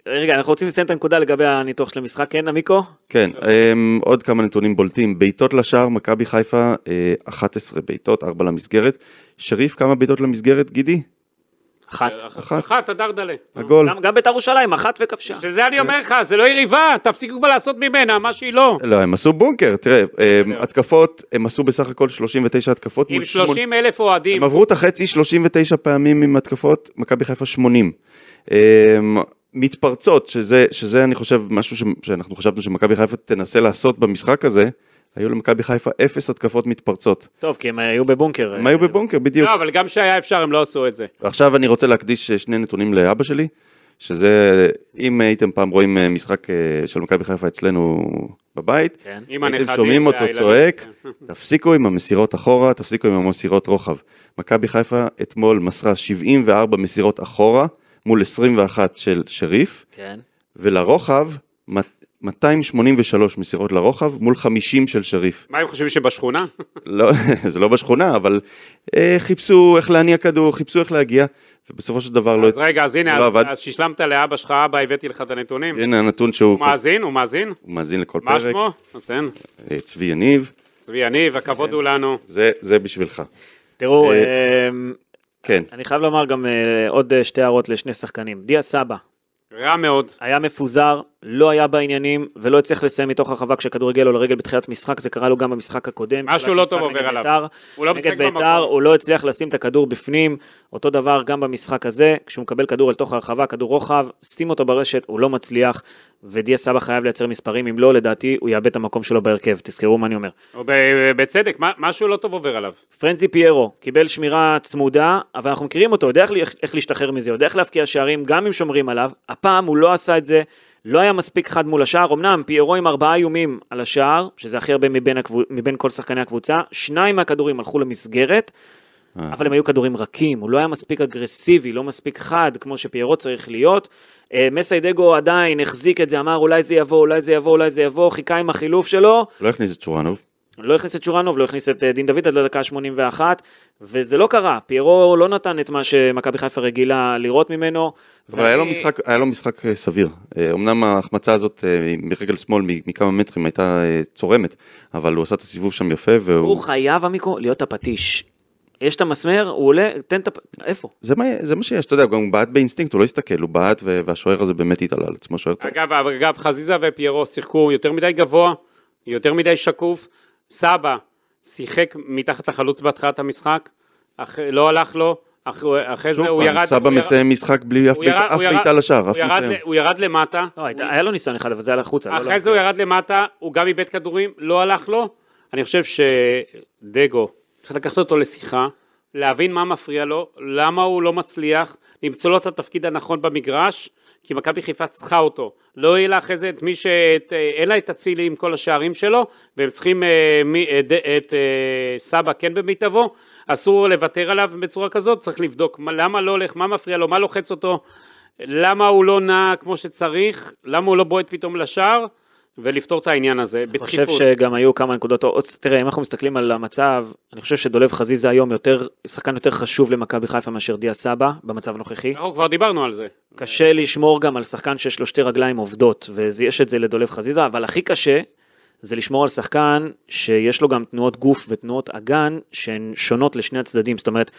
B: רגע, אנחנו רוצים לסיים את הנקודה לגבי הניתוח של המשחק, כן, עמיקו?
D: כן, אמ, עוד כמה נתונים בולטים. בעיטות לשער, מכבי חיפה, אה, 11 בעיטות, 4 למסגרת. שריף, כמה בעיטות למסגרת, גידי?
B: אחת.
D: אחת.
C: אחת, הדרדלה.
D: הגול.
B: גם- גם בית"ר ירושלים, אחת וכבשה.
C: שזה אני אומר לך, זה לא יריבה, תפסיקו כבר לעשות ממנה מה שהיא לא.
D: לא, הם עשו בונקר, תראה, אמ, התקפות, הם עשו בסך הכל 39 התקפות.
C: עם
D: מול שמונה-
C: 30 אלף אוהדים.
D: הם עברו את החצי 39 פעמים עם התקפות, מכבי חיפה 80. אמ, מתפרצות, שזה, שזה אני חושב משהו ש, שאנחנו חשבנו שמכבי חיפה תנסה לעשות במשחק הזה, היו למכבי חיפה אפס התקפות מתפרצות.
B: טוב, כי הם אה, היו בבונקר.
D: הם היו בבונקר בדיוק.
C: לא, אבל גם כשהיה אפשר הם לא עשו את זה.
D: ועכשיו אני רוצה להקדיש אה, שני נתונים לאבא שלי, שזה, אם הייתם פעם רואים אה, משחק אה, של מכבי חיפה אצלנו בבית,
B: כן.
C: עם
D: הייתם
C: הנכדים כן.
D: שומעים אותו
C: והילדים.
D: צועק, תפסיקו עם המסירות אחורה, תפסיקו עם המסירות רוחב. מכבי חיפה אתמול מסרה 74 מסירות אחורה מול 21 של שריף,
B: כן.
D: ולרוחב, מ- 283 מסירות לרוחב מול 50 של שריף.
C: מה הם חושבים שבשכונה?
D: לא, זה לא בשכונה, אבל אה, חיפשו איך להניע כדור, חיפשו איך להגיע, ובסוף של דבר לא...
C: אז רגע, אז
D: זה
C: הנה,
D: לא
C: אז-
D: עבד.
C: אז שהשלמת לאבא שלך, אבא, הבאתי לך את הנתונים.
D: הנה הנתון שהוא
C: הוא מאזין, הוא מאזין.
D: הוא מאזין לכל
C: מה
D: פרק,
C: שמו? אז תן.
D: אה, צבי יניב,
C: צבי יניב, הכבוד
D: כן.
C: הוא לנו.
D: זה, זה בשבילך.
B: תראו,
D: אה,
B: אמ,
D: כן,
B: אני חייב לומר גם אה, עוד אה, שתי הערות לשני שחקנים. דיה סבא
C: רע מאוד.
B: היה מפוזר, לא היה בעניינים, ולא הצליח לסיים מתוך הרחבה כשהכדור הגיע לו לרגל בתחילת משחק, זה קרה לו גם במשחק הקודם.
C: משהו
B: בתחילת
C: לא
B: משחק
C: טוב
B: נגד
C: עובר עליו.
B: בית"ר.
C: הוא לא משחק
B: נגד ביתר,
C: במקום.
B: הוא לא הצליח לשים את הכדור בפנים, אותו דבר גם במשחק הזה, כשהוא מקבל כדור אל תוך הרחבה, כדור רוחב, שים אותו ברשת, הוא לא מצליח, ודיה סבא חייב לייצר מספרים, אם לא, לדעתי, הוא יאבד את המקום שלו בהרכב, תזכרו מה אני אומר.
C: הוא ב- בצדק, מה- משהו לא טוב עובר עליו.
B: פרנזי פיירו קיבל שמירה צמודה, אבל אנחנו מכירים אותו, יודע איך, איך, איך להשתחרר מזה, יודע איך להבקיע שערים, גם אם שומרים עליו. הפעם הוא לא עשה את זה, לא היה מספיק חד מול השער. אמנם פיירו עם ארבעה איומים על השער, שזה הכי הרבה מבין, הקבו, מבין כל שחקני הקבוצה, שניים מהכדורים הלכו למסגרת, אבל הם היו כדורים רכים, הוא לא היה מספיק אגרסיבי, לא מספיק חד, כמו שפיירו צריך להיות. אה, מסיידגו עדיין החזיק את זה, אמר אולי זה יבוא, אולי זה יבוא, אולי זה יבוא, חיכה עם החילוף שלו,
D: לא הכניס את שורנוב.
B: לא הכניס את שורנוב, לא הכניס את אה, דין דוד עד לדקה ה-81, וזה לא קרה, פיירו לא נתן את מה שמכבי חיפה רגילה לראות ממנו.
D: אבל היה לו
B: ואני-
D: משחק, היה לו משחק אה, סביר. אה, אמנם ההחמצה הזאת אה, מרגל שמאל, מ- מכמה מטרים, הייתה אה, צורמת, אבל הוא עשה את הסיבוב שם יפה, והוא...
B: הוא חייב, עמיקו, להיות הפטיש. יש את המסמר, הוא עולה, תן את הפ... איפה?
D: זה מה, זה מה שיש, אתה יודע, גם הוא בעט באינסטינקט, הוא לא הסתכל, הוא בעט, ו- והשוער הזה באמת התעלה על עצמו, שוער טוב.
C: אגב, אגב, חזיזה ופיירו שיחקו יותר מדי גבוה, יותר מדי שקוף. סבא שיחק מתחת לחלוץ בהתחלת המשחק, אח, לא הלך לו, אח, אחרי
D: שוב
C: זה הוא
D: פעם,
C: ירד...
D: סבא
C: הוא ירד-
D: מסיים משחק בלי אף
C: הוא ירד-
D: בעיטה- אף
C: הוא ירד-
D: בעיטה לשער,
C: הוא
D: אף
C: ירד
D: מסיים.
C: ל- הוא ירד למטה,
B: לא, הייתה- היה לו ניסיון אחד, אבל זה היה לחוצה. לא
C: אחרי
B: לא.
C: זה הוא ירד למטה, הוא גם איבד כדורים, לא הלך לו. אני חושב שדגו, צריך לקחת אותו לשיחה, להבין מה מפריע לו, למה הוא לא מצליח, למצוא לו את התפקיד הנכון במגרש, כי מכבי חיפה צריכה אותו. לא יהיה לה אחרי זה את מי ש... את, אה, אין לה את אצילי עם כל השערים שלו, והם צריכים אה, מי, אה, ד, את אה, סבא כן במיטבו, אסור לוותר עליו בצורה כזאת, צריך לבדוק מה, למה לא הולך, מה מפריע לו, מה לוחץ אותו, למה הוא לא נע כמו שצריך, למה הוא לא בועט פתאום לשער, ולפתור את העניין הזה
B: אני חושב
C: בדחיפות.
B: שגם היו כמה נקודות, או- תראה, אם אנחנו מסתכלים על המצב, אני חושב שדולב חזיזה היום יותר, שחקן יותר חשוב למכבי חיפה מאשר דיה סבא, במצב הנוכחי.
C: אנחנו כבר דיברנו על זה.
B: קשה לשמור גם על שחקן שיש לו שתי רגליים עובדות, ויש את זה לדולב חזיזה, אבל הכי קשה זה לשמור על שחקן שיש לו גם תנועות גוף ותנועות אגן שהן שונות לשני הצדדים, זאת אומרת,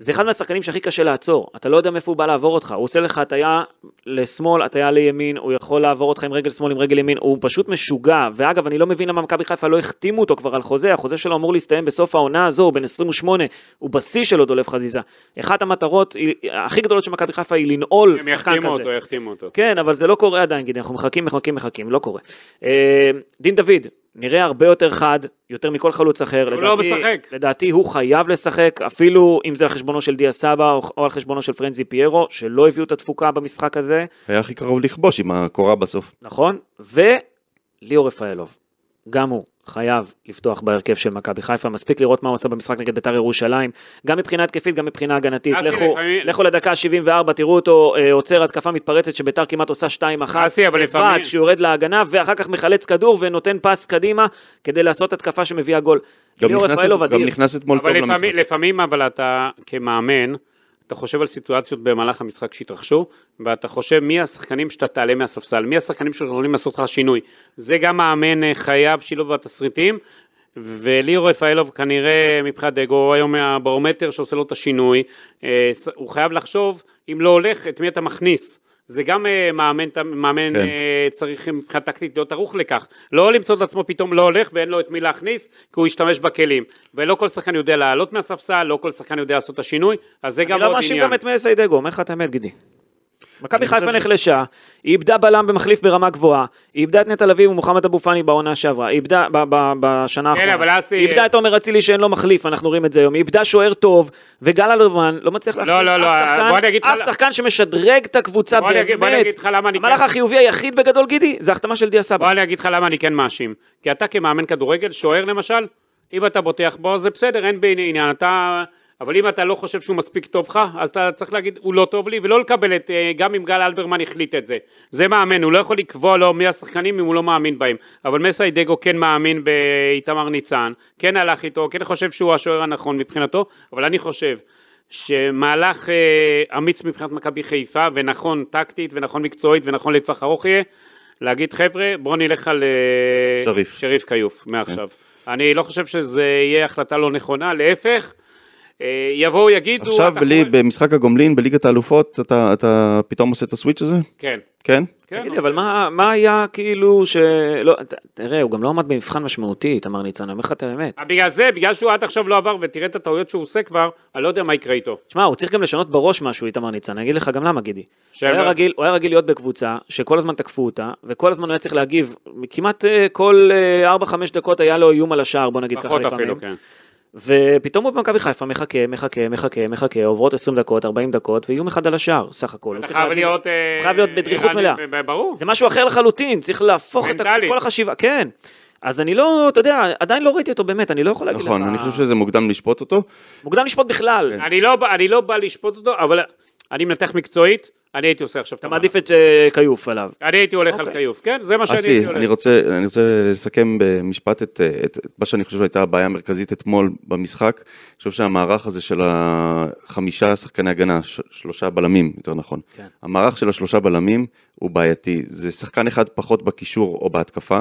B: זה אחד מהשחקנים שהכי קשה לעצור, אתה לא יודע מאיפה הוא בא לעבור אותך, הוא עושה לך הטיה לשמאל, הטיה לימין, הוא יכול לעבור אותך עם רגל שמאל, עם רגל ימין, הוא פשוט משוגע, ואגב, אני לא מבין למה מכבי חיפה לא החתימו אותו כבר על חוזה, החוזה שלו אמור להסתיים בסוף העונה הזו, הוא בן 28, הוא בשיא שלו דולב חזיזה. אחת המטרות היא- הכי גדולות של מכבי חיפה היא לנעול
C: הם
B: שחקן
C: יחתימו
B: כזה.
C: אותו, יחתימו אותו.
B: כן, אבל זה לא קורה עדיין, גידי, אנחנו מחכים, מחכים, מחכים, לא קורה. אה, דין דוד, נראה הרבה יותר חד, יותר מכל חלוץ אחר.
C: הוא לא משחק.
B: לדעתי הוא חייב לשחק, אפילו אם זה על חשבונו של דיה סבא או, או על חשבונו של פרנזי פיירו, שלא הביאו את התפוקה במשחק הזה,
D: היה הכי קרוב לכבוש עם הקורה בסוף.
B: נכון? וליאור רפאלוב, גם הוא חייב לפתוח בהרכב של מכבי חיפה, מספיק לראות מה הוא עשה במשחק נגד בית"ר ירושלים, גם מבחינה התקפית, גם מבחינה הגנתית.
C: אסי,
B: לכו,
C: לפעמים-
B: לכו לדקה ה-74, תראו אותו אה, עוצר התקפה מתפרצת שבית"ר כמעט עושה 2-1,
C: אסי, אבל לפעמים-
B: שיורד להגנה, ואחר כך מחלץ כדור ונותן פס קדימה כדי לעשות התקפה שמביאה גול.
D: גם
B: ליאור
D: נכנס-
B: רפאלוב
D: גם
B: אדיר.
D: נכנס אתמול טוב
C: אבל
D: למשחק.
C: לפעמים, לפעמים אבל אתה כמאמן, אתה חושב על סיטואציות במהלך המשחק שהתרחשו, ואתה חושב מי השחקנים שאתה תעלה מהספסל, מי השחקנים שיכולים לעשות לך שינוי. זה גם מאמן אה, חייב שילוב בתסריטים, וליאור רפאלוב כנראה מבחינת דגו, הוא היום הברומטר שעושה לו את השינוי, אה, ס- הוא חייב לחשוב, אם לא הולך, את מי אתה מכניס. זה גם אה, מאמן, ת- מאמן
D: כן.
C: אה, צריך מבחינה טקטית להיות ערוך לכך. לא למצוא את עצמו פתאום לא הולך ואין לו את מי להכניס, כי הוא ישתמש בכלים. ולא כל שחקן יודע לעלות מהספסל, לא כל שחקן יודע לעשות את השינוי, אז זה
B: אני
C: גם
B: לא
C: עוד
B: מאשים
C: עניין.
B: גם את מסי דגו, אומר לך את האמת, גידי. מכבי
D: אני חושב
B: חיפה
D: ש-
B: נחלשה, היא איבדה בלם במחליף ברמה גבוהה, היא איבדה את נטע לביא ומוחמד אבו פאני בעונה שעברה, היא איבדה ב- ב- בשנה
C: כן,
B: האחרונה,
C: אבל אסי-
B: היא איבדה את עומר אצילי שאין לו מחליף, אנחנו רואים את זה היום, היא איבדה שוער טוב, וגל אלברמן לא מצליח להחליף
C: לא, לא,
B: אף שחקן,
C: בוא אני אגיד לך
B: אף
C: למה-
B: שחקן שמשדרג את הקבוצה
C: בוא אני אגיד-
B: באמת.
C: בוא אני אגיד לך למה אני
B: המהלך
C: כן-
B: החיובי היחיד בגדול, גידי, זה החתמה של דיה סבא.
C: בוא אני אגיד לך למה אני כן מאשים. כי אתה כמאמן כדורגל, שוער למשל, אם אתה בוטח בו זה בסדר, אין בי עניין, אתה... אבל אם אתה לא חושב שהוא מספיק טוב לך, אז אתה צריך להגיד, הוא לא טוב לי, ולא לקבל את, אה, גם אם גל אלברמן החליט את זה. זה מאמן, הוא לא יכול לקבוע לו מי השחקנים אם הוא לא מאמין בהם. אבל מסי דגו כן מאמין באיתמר ניצן, כן הלך איתו, כן חושב שהוא השוער הנכון מבחינתו, אבל אני חושב שמהלך אה, אמיץ מבחינת מכבי חיפה, ונכון טקטית, ונכון מקצועית, ונכון לטווח ארוך יהיה, להגיד חבר'ה, בוא נלך על אה,
D: שריף.
C: שריף כיוף מעכשיו.
B: כן.
C: אני לא חושב שזה יהיה החלטה לא נכונה, להפך, אה, יבואו יגידו...
D: עכשיו
C: אנחנו-
D: בלי, במשחק הגומלין, בליגת האלופות, אתה, אתה פתאום עושה את הסוויץ' הזה?
C: כן.
D: כן?
C: כן,
B: תגיד לי,
C: עושה.
B: אבל מה- מה היה כאילו ש... לא, ת- תראה, הוא גם לא עמד במבחן משמעותי, איתמר ניצן, אני אומר לך את האמת.
C: בגלל זה, בגלל שהוא עד עכשיו לא עבר, ותראה את הטעויות שהוא עושה כבר, אני לא יודע מה יקרה איתו.
B: תשמע, הוא צריך גם לשנות בראש משהו, איתמר ניצן, אני אגיד לך גם למה, גידי. הוא
C: שהם
B: היה,
C: לא-
B: רגיל, הוא היה רגיל להיות בקבוצה, שכל הזמן תקפו אותה, וכל הזמן הוא היה צריך להגיב, כמעט אה, כל אה, 4-5 דקות היה לו איום על השער, בוא נגיד ככה
C: פחות
B: לפעמים.
C: אפילו, כן.
B: ופתאום הוא במכבי חיפה מחכה, מחכה, מחכה, מחכה, עוברות 20 דקות, 40 דקות, ואיום אחד על השער, סך הכל. הוא
C: אתה
B: צריך
C: חייב
B: להגיב-
C: להיות... אה,
B: הוא חייב להיות בדריכות
C: ערני,
B: מלאה.
C: ב- ב- ברור.
B: זה משהו אחר לחלוטין, צריך להפוך את ה- את
C: מנטלית.
B: כל החשיבה, כן. אז אני לא, אתה יודע, עדיין לא ראיתי אותו באמת, אני לא יכול להגיד
D: נכון,
B: לך.
D: אני חושב שזה מוקדם לשפוט אותו.
C: כן.
B: מוקדם לשפוט בכלל.
C: אני לא, בא- אני לא בא לשפוט אותו, אבל אני מנתח מקצועית, אני הייתי עושה עכשיו את
B: אתה
C: המהלך.
B: מעדיף את אה, כיוף עליו.
C: אני הייתי הולך על
B: אוקיי.
C: כיוף, כן? זה מה שאני הייתי
D: אסי,
C: הולך.
D: אה, אני רוצה, אני רוצה לסכם במשפט את, את, את מה שאני חושב שהייתה הבעיה המרכזית אתמול במשחק. אני חושב שהמערך הזה של החמישה שחקני הגנה, ש, שלושה בלמים, יותר נכון.
B: כן.
D: המערך של השלושה בלמים הוא בעייתי. זה שחקן אחד פחות בקישור או בהתקפה.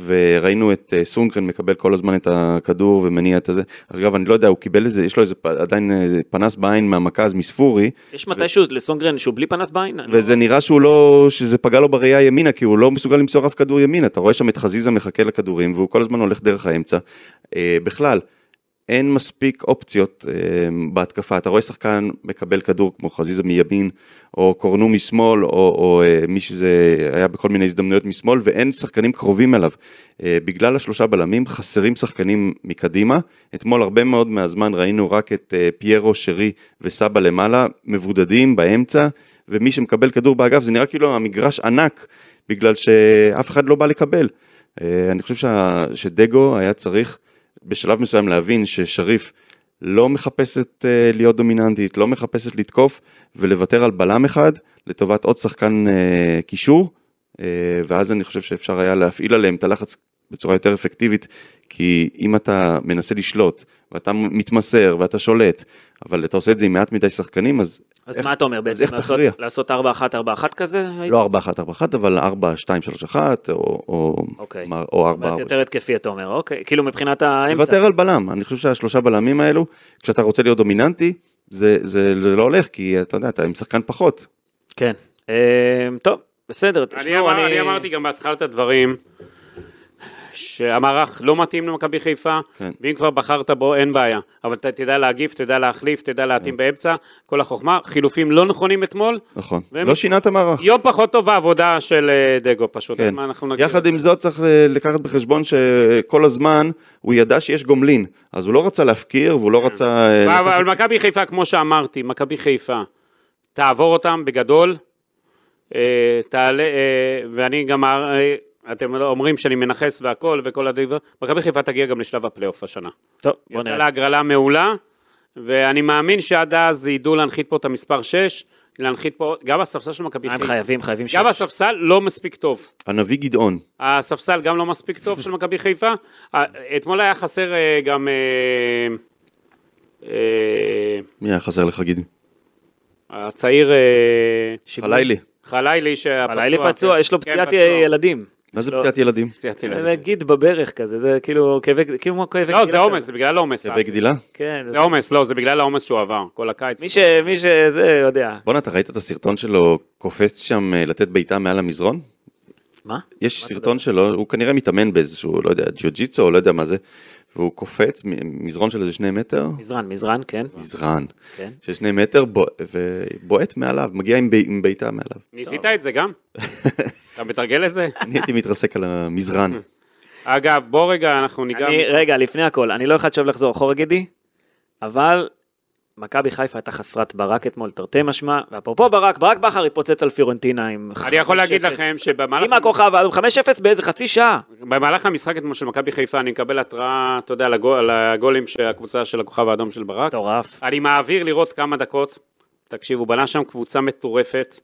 D: וראינו את אה, סונגרן מקבל כל הזמן את הכדור ומניע את הזה. אגב, אני לא יודע, הוא קיבל איזה, יש לו איזה, פ- עדיין איזה פנס בעין מהמכה אז מספורי,
B: יש מתישהו לסונגרן שהוא בלי פנס בעין? אני לא-
D: וזה נראה שהוא לא, שזה פגע לו בראייה ימינה, כי הוא לא מסוגל למסור אף כדור ימינה. אתה רואה שם את חזיזה מחכה לכדורים, והוא כל הזמן הולך דרך האמצע. אה, בכלל, אין מספיק אופציות אה, בהתקפה. אתה רואה שחקן מקבל כדור כמו חזיזה מימין, או קורנו משמאל, או, או אה, מי שזה היה בכל מיני הזדמנויות משמאל, ואין שחקנים קרובים אליו. אה, בגלל השלושה בלמים, חסרים שחקנים מקדימה. אתמול הרבה מאוד מהזמן ראינו רק את אה, פיירו, שרי וסבא למעלה, מבודדים באמצע, ומי שמקבל כדור באגף, זה נראה כאילו המגרש ענק, בגלל שאף אחד לא בא לקבל. אה, אני חושב שה, שדגו היה צריך בשלב מסוים להבין ששריף לא מחפשת אה, להיות דומיננטית, לא מחפשת לתקוף ולוותר על בלם אחד לטובת עוד שחקן אה, קישור, אה, ואז אני חושב שאפשר היה להפעיל עליהם את הלחץ בצורה יותר אפקטיבית, כי אם אתה מנסה לשלוט ואתה מתמסר ואתה שולט, אבל אתה עושה את זה עם מעט מדי שחקנים, אז
B: אז
D: איך-
B: מה אתה אומר בעצם?
D: איך
B: לעשות-
D: תכריע?
B: לעשות 4-1-4-1 כזה?
D: לא 4-1-4-1, אבל 4-2-3-1, או- או
B: אוקיי.
D: מה- או 4
B: זאת יותר התקפי אתה אומר, אוקיי, כאילו מבחינת האמצע.
D: לוותר על בלם, אני חושב שהשלושה בלמים האלו, כשאתה רוצה להיות דומיננטי, זה, זה, זה לא הולך, כי אתה יודע, אתה עם שחקן פחות.
B: כן. אה, טוב, בסדר,
C: אני,
B: תשמעו,
C: אמר,
B: אני...
C: אני אמרתי גם בהתחלת הדברים, שהמערך לא מתאים למכבי חיפה,
D: כן.
C: ואם כבר בחרת בו, אין בעיה. אבל אתה תדע להגיב, תדע להחליף, תדע
D: כן.
C: להתאים באמצע, כל החוכמה. חילופים לא נכונים אתמול,
D: נכון.
C: והם-
D: לא שינה את המערך.
C: יום פחות טוב בעבודה של אה, דגו פשוט. אז
D: כן.
C: מה אנחנו נגיד?
D: יחד עם זאת צריך אה, לקחת בחשבון שכל הזמן הוא ידע שיש גומלין, אז הוא לא רצה להפקיר והוא לא רצה... אה,
C: אבל-
D: לקחת-
C: אבל מכבי חיפה, כמו שאמרתי, מכבי חיפה, תעבור אותם בגדול, אה, תעלה, אה, ואני גם, אה, אתם לא- אומרים שאני מנכס והכל וכל הדבר, מכבי חיפה תגיע גם לשלב הפלייאוף השנה.
B: טוב, בוא
C: יצא
B: נראה.
C: לה הגרלה מעולה, ואני מאמין שעד אז ידעו להנחית פה את המספר 6, להנחית פה, גם הספסל של מכבי
B: הם
C: חיפה,
B: חייבים, חייבים ש...
C: גם הספסל לא מספיק טוב.
D: הנביא גדעון.
C: הספסל גם לא מספיק טוב של מכבי חיפה. אה, אתמול היה חסר אה, גם... אה, אה,
D: מי היה חסר לך גדעון?
C: הצעיר אה,
D: חלילי.
C: חלילי שהפצוע.
B: הלילי פצוע,
C: כן.
B: יש לו
C: כן,
B: פציעת
C: פצוע.
B: ילדים.
D: מה זה
B: לא.
D: פציעת ילדים?
C: פציעת ילדים.
B: להגיד בברך כזה, זה כאילו כאבי, כאילו כמו כאבי
C: לא,
B: גדילה
C: זה
B: כזה.
C: עומס, זה בגלל עומס.
D: כאבי גדילה?
B: כן, זה
C: זה עומס, לא, זה בגלל העומס שהוא עבר כל הקיץ.
B: מי ש... מי שזה יודע.
D: בואנה, אתה ראית את הסרטון שלו קופץ שם אה, לתת בעיטה מעל המזרון?
B: מה?
D: יש סרטון שלו, הוא כנראה מתאמן באיזשהו, לא יודע, ג'יוג'יצו או לא יודע מה זה, והוא קופץ מ- מזרון של איזה שני מטר,
B: מזרן, מזרן, כן.
D: מזרן,
B: כן.
D: של שני מטר, בוע- ובועט מעליו, מגיע עם ב- עם בעיטה מעליו.
C: ניסית את זה גם? אתה מתרגל את זה?
D: אני הייתי מתרסק על המזרן.
C: אגב, בוא רגע, אנחנו ניגע...
B: אני, רגע, לפני הכל, אני לא אחד שאוהב לחזור אחורה, גידי, אבל מכבי חיפה הייתה חסרת ברק אתמול, תרתי משמע, ואפרופו ברק, ברק בכר התפוצץ על פיורנטינה עם 5-0.
C: אני יכול להגיד לכם שבמהלך-
B: עם הכוכב, האדום, 5-0 באיזה חצי שעה.
C: במהלך המשחק אתמול של מכבי חיפה, אני מקבל התראה, אתה יודע, לגו- על הגולים של הקבוצה של הכוכב האדום של ברק.
B: מטורף.
C: אני מעביר לראות כמה דקות. תקשיבו, בנה שם קבוצה מטורפת,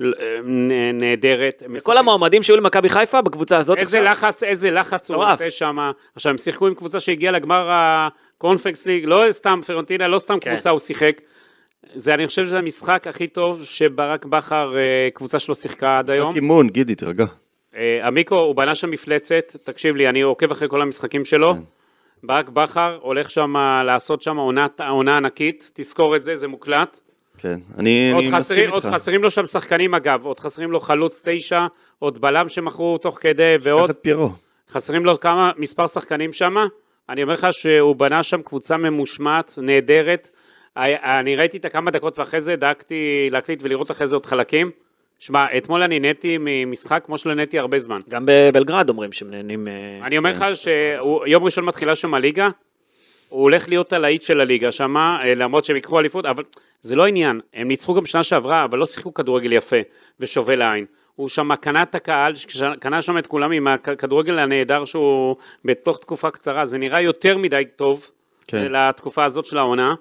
C: ל- אה, נ- נהדרת.
B: כל
C: משחקים-
B: המועמדים שהיו למכבי חיפה בקבוצה הזאת.
C: איזה
B: עכשיו,
C: לחץ, איזה לחץ הוא
B: מטורף.
C: עושה שם. עכשיו, הם שיחקו עם קבוצה שהגיעה לגמר הקונפרנס ליג, לא סתם פרנטינה, לא סתם
B: כן.
C: קבוצה הוא שיחק. זה, אני חושב שזה המשחק הכי טוב שברק בכר, אה, קבוצה שלו שיחקה עד
D: יש
C: היום.
D: רק אימון, גידי, תירגע.
C: אה, המיקרו, הוא בנה שם מפלצת, תקשיב לי, אני עוקב אחרי כל המשחקים שלו.
D: כן.
C: ברק בכר הולך שם אה, לעשות שם עונת- עונה ענקית, תזכור את זה, זה מוקלט.
D: כן, אני
C: עוד
D: אני
C: חסרים,
D: מסכים
C: עוד
D: איתך.
C: חסרים לו שם שחקנים אגב, עוד חסרים לו חלוץ תשע, עוד בלם שמכרו תוך כדי,
D: קח
C: ועוד
D: את פיירו.
C: חסרים לו כמה, מספר שחקנים שם. אני אומר לך שהוא בנה שם קבוצה ממושמעת, נהדרת. היה- אני ראיתי את הכמה דקות ואחרי זה דאגתי להקליט ולראות אחרי זה עוד חלקים. שמע, אתמול אני נהניתי ממשחק כמו שלא נהניתי הרבה זמן.
B: גם בבלגרד אומרים שהם נהנים... אה,
C: אני אומר לך שיום ראשון מתחילה שם הליגה, הוא הולך להיות הלהיט של הליגה שם, אה, למרות שהם ייקחו אליפות, אבל זה לא העניין, הם ניצחו גם שנה שעברה, אבל לא שיחקו כדורגל יפה ושובה לעין. הוא שם קנה את הקהל, ש- קנה שם את כולם עם הכדורגל הנהדר שהוא בתוך תקופה קצרה, זה נראה יותר מדי טוב אה,
D: כן.
C: לתקופה הזאת של העונה.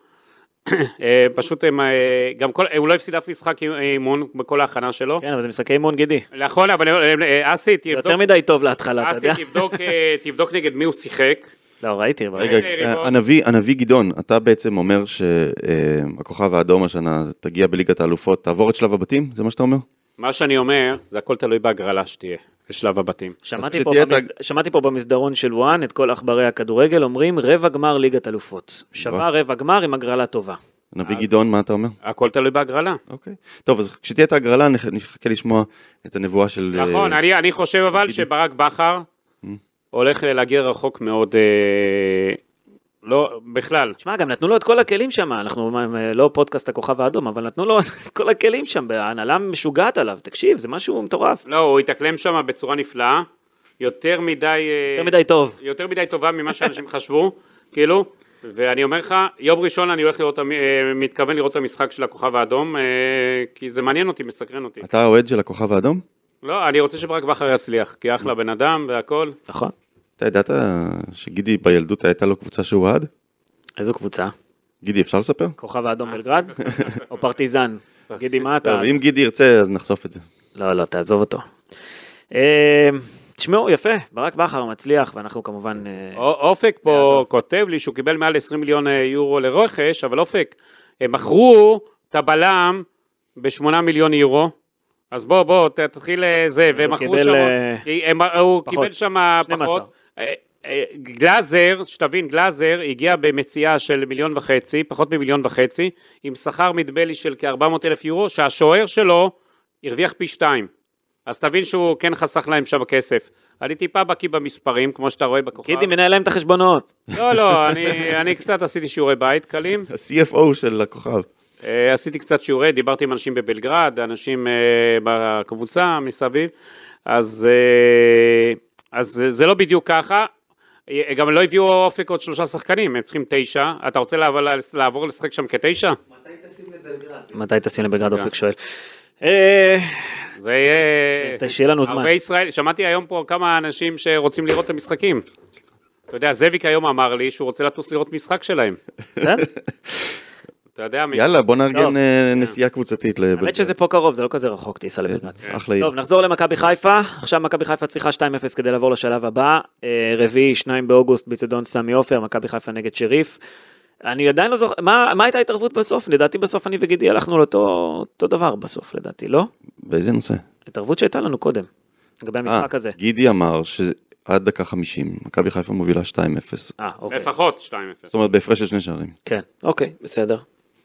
C: אה, פשוט הם, אה, גם כל, הוא לא הפסיד אף משחק אימון בכל ההכנה שלו.
B: כן, אבל זה משחקי אימון גידי. זה
C: נכון, אבל אה, אה, אסי, תבדוק,
B: יותר מדי טוב להתחלה, אתה
C: אסי,
B: יודע?
C: תבדוק, אה, תבדוק נגד מי הוא שיחק.
B: לא, ראיתי, אבל...
D: רגע,
C: ריבון.
D: הנביא, הנביא גדעון, אתה בעצם אומר שהכוכב האדום השנה תגיע בליגת האלופות, תעבור את שלב הבתים? זה מה שאתה אומר?
C: מה שאני אומר, זה הכל תלוי בהגרלה שתהיה בשלב הבתים.
B: שמעתי
D: אז
B: פה,
D: כשתהיה את
B: במסד... שמעתי פה במסדרון של וואן את כל עכברי הכדורגל אומרים רבע גמר ליגת אלופות. שווה רבע גמר עם הגרלה טובה.
C: אה,
D: הנביא גדעון, מה אתה אומר?
C: הכל תלוי בהגרלה.
D: אוקיי. טוב, אז כשתהיה את ההגרלה, נח- נחכה לשמוע את הנבואה של...
C: נכון,
D: אה,
C: אני, אני חושב אבל
D: תגידי.
C: שברק בכר הולך להגיע רחוק מאוד, אה, לא, בכלל.
B: שמע, גם נתנו לו את כל הכלים שם, אנחנו אה, לא פודקאסט הכוכב האדום, אבל נתנו לו את כל הכלים שם, ההנהלה משוגעת עליו, תקשיב, זה משהו מטורף.
C: לא, הוא התאקלם שם בצורה נפלאה, יותר מדי... אה,
B: יותר מדי טוב.
C: יותר מדי טובה ממה שאנשים חשבו, כאילו, ואני אומר לך, יום ראשון אני הולך לראות, את המ- אה, מתכוון לראות את המשחק של הכוכב האדום, אה, כי זה מעניין אותי, מסקרן אותי.
D: אתה האוהד של הכוכב האדום?
C: לא, אני רוצה שברק בכר יצליח, כי אחלה בן אדם והכל.
B: נכון.
D: אתה ידעת שגידי בילדות הייתה לו קבוצה שהוא אוהד?
B: איזו קבוצה?
D: גידי, אפשר לספר?
B: כוכב האדום בלגרד? או פרטיזן? גידי, מה אתה...
D: טוב, אם גידי ירצה, אז נחשוף את זה.
B: לא, לא, תעזוב אותו. אה, תשמעו, יפה, ברק בכר מצליח, ואנחנו כמובן... אה,
C: א- אופק פה כותב לי שהוא קיבל מעל 20 מיליון אה, יורו לרכש, אבל אופק, הם מכרו את הבלם ב-8 מיליון יורו. אז בוא, בוא, ת- תתחיל אה, זה, והם מכרו
B: קיבל,
C: שם,
B: אה,
C: כי הם- הוא
B: פחות.
C: קיבל שם
B: 12.
C: פחות. אה, אה, גלאזר, שתבין, גלאזר הגיע במציאה של מיליון וחצי, פחות ממיליון וחצי, עם שכר נדמה לי של כ-400 אלף יורו, שהשוער שלו הרוויח פי שתיים. אז תבין שהוא כן חסך להם שם כסף. אני טיפה בקיא במספרים, כמו שאתה רואה בכוכב.
B: גידי מנהל להם את החשבונות.
C: לא, לא, אני, אני קצת עשיתי שיעורי בית קלים.
D: ה-CFO של הכוכב.
C: אה, עשיתי קצת שיעורי, דיברתי עם אנשים בבלגרד, אנשים אה, בקבוצה מסביב, אז, אה, אז זה- זה לא בדיוק ככה. אה, גם לא הביאו אופק עוד שלושה שחקנים, הם צריכים תשע. אתה רוצה לעבור, לעבור לשחק שם כתשע?
B: מתי תשים לבלגרד אופק שואל? אה,
C: זה יהיה...
B: ש- שיהיה לנו זמן.
C: הרבה ישראל, שמעתי היום פה כמה אנשים שרוצים לראות את המשחקים. אתה יודע, זאביק היום אמר לי שהוא רוצה לטוס לראות משחק שלהם.
B: בסדר?
C: אתה יודע, מי-
D: יאללה, בוא
B: טוב. כן.
D: נארגן אה, נסיעה קבוצתית לבלגרד.
B: האמת שזה פה קרוב, זה לא כזה רחוק, תיסע
D: אה,
B: לבלגרד.
D: אחלה עיר.
B: טוב, נחזור למכבי חיפה. עכשיו מכבי חיפה צריכה 2-0 כדי לעבור לשלב הבא. אה, רביעי, 2 באוגוסט, בצדון סמי עופר, מכבי חיפה נגד שריף. אני עדיין לא זוכר, מה מה הייתה ההתערבות בסוף? לדעתי בסוף אני וגידי הלכנו לאותו אותו דבר בסוף, לדעתי, לא?
D: באיזה נושא?
B: התערבות שהייתה לנו קודם, לגבי המשחק
D: אה,
B: הזה.
D: גידי אמר שעד דקה 50, מכבי חיפה מובילה 2-0.
B: אה, אוקיי.
C: לפחות 2-0.
D: זאת אומרת, בהפרש של שני שערים.
B: כן, אוקיי, בסדר.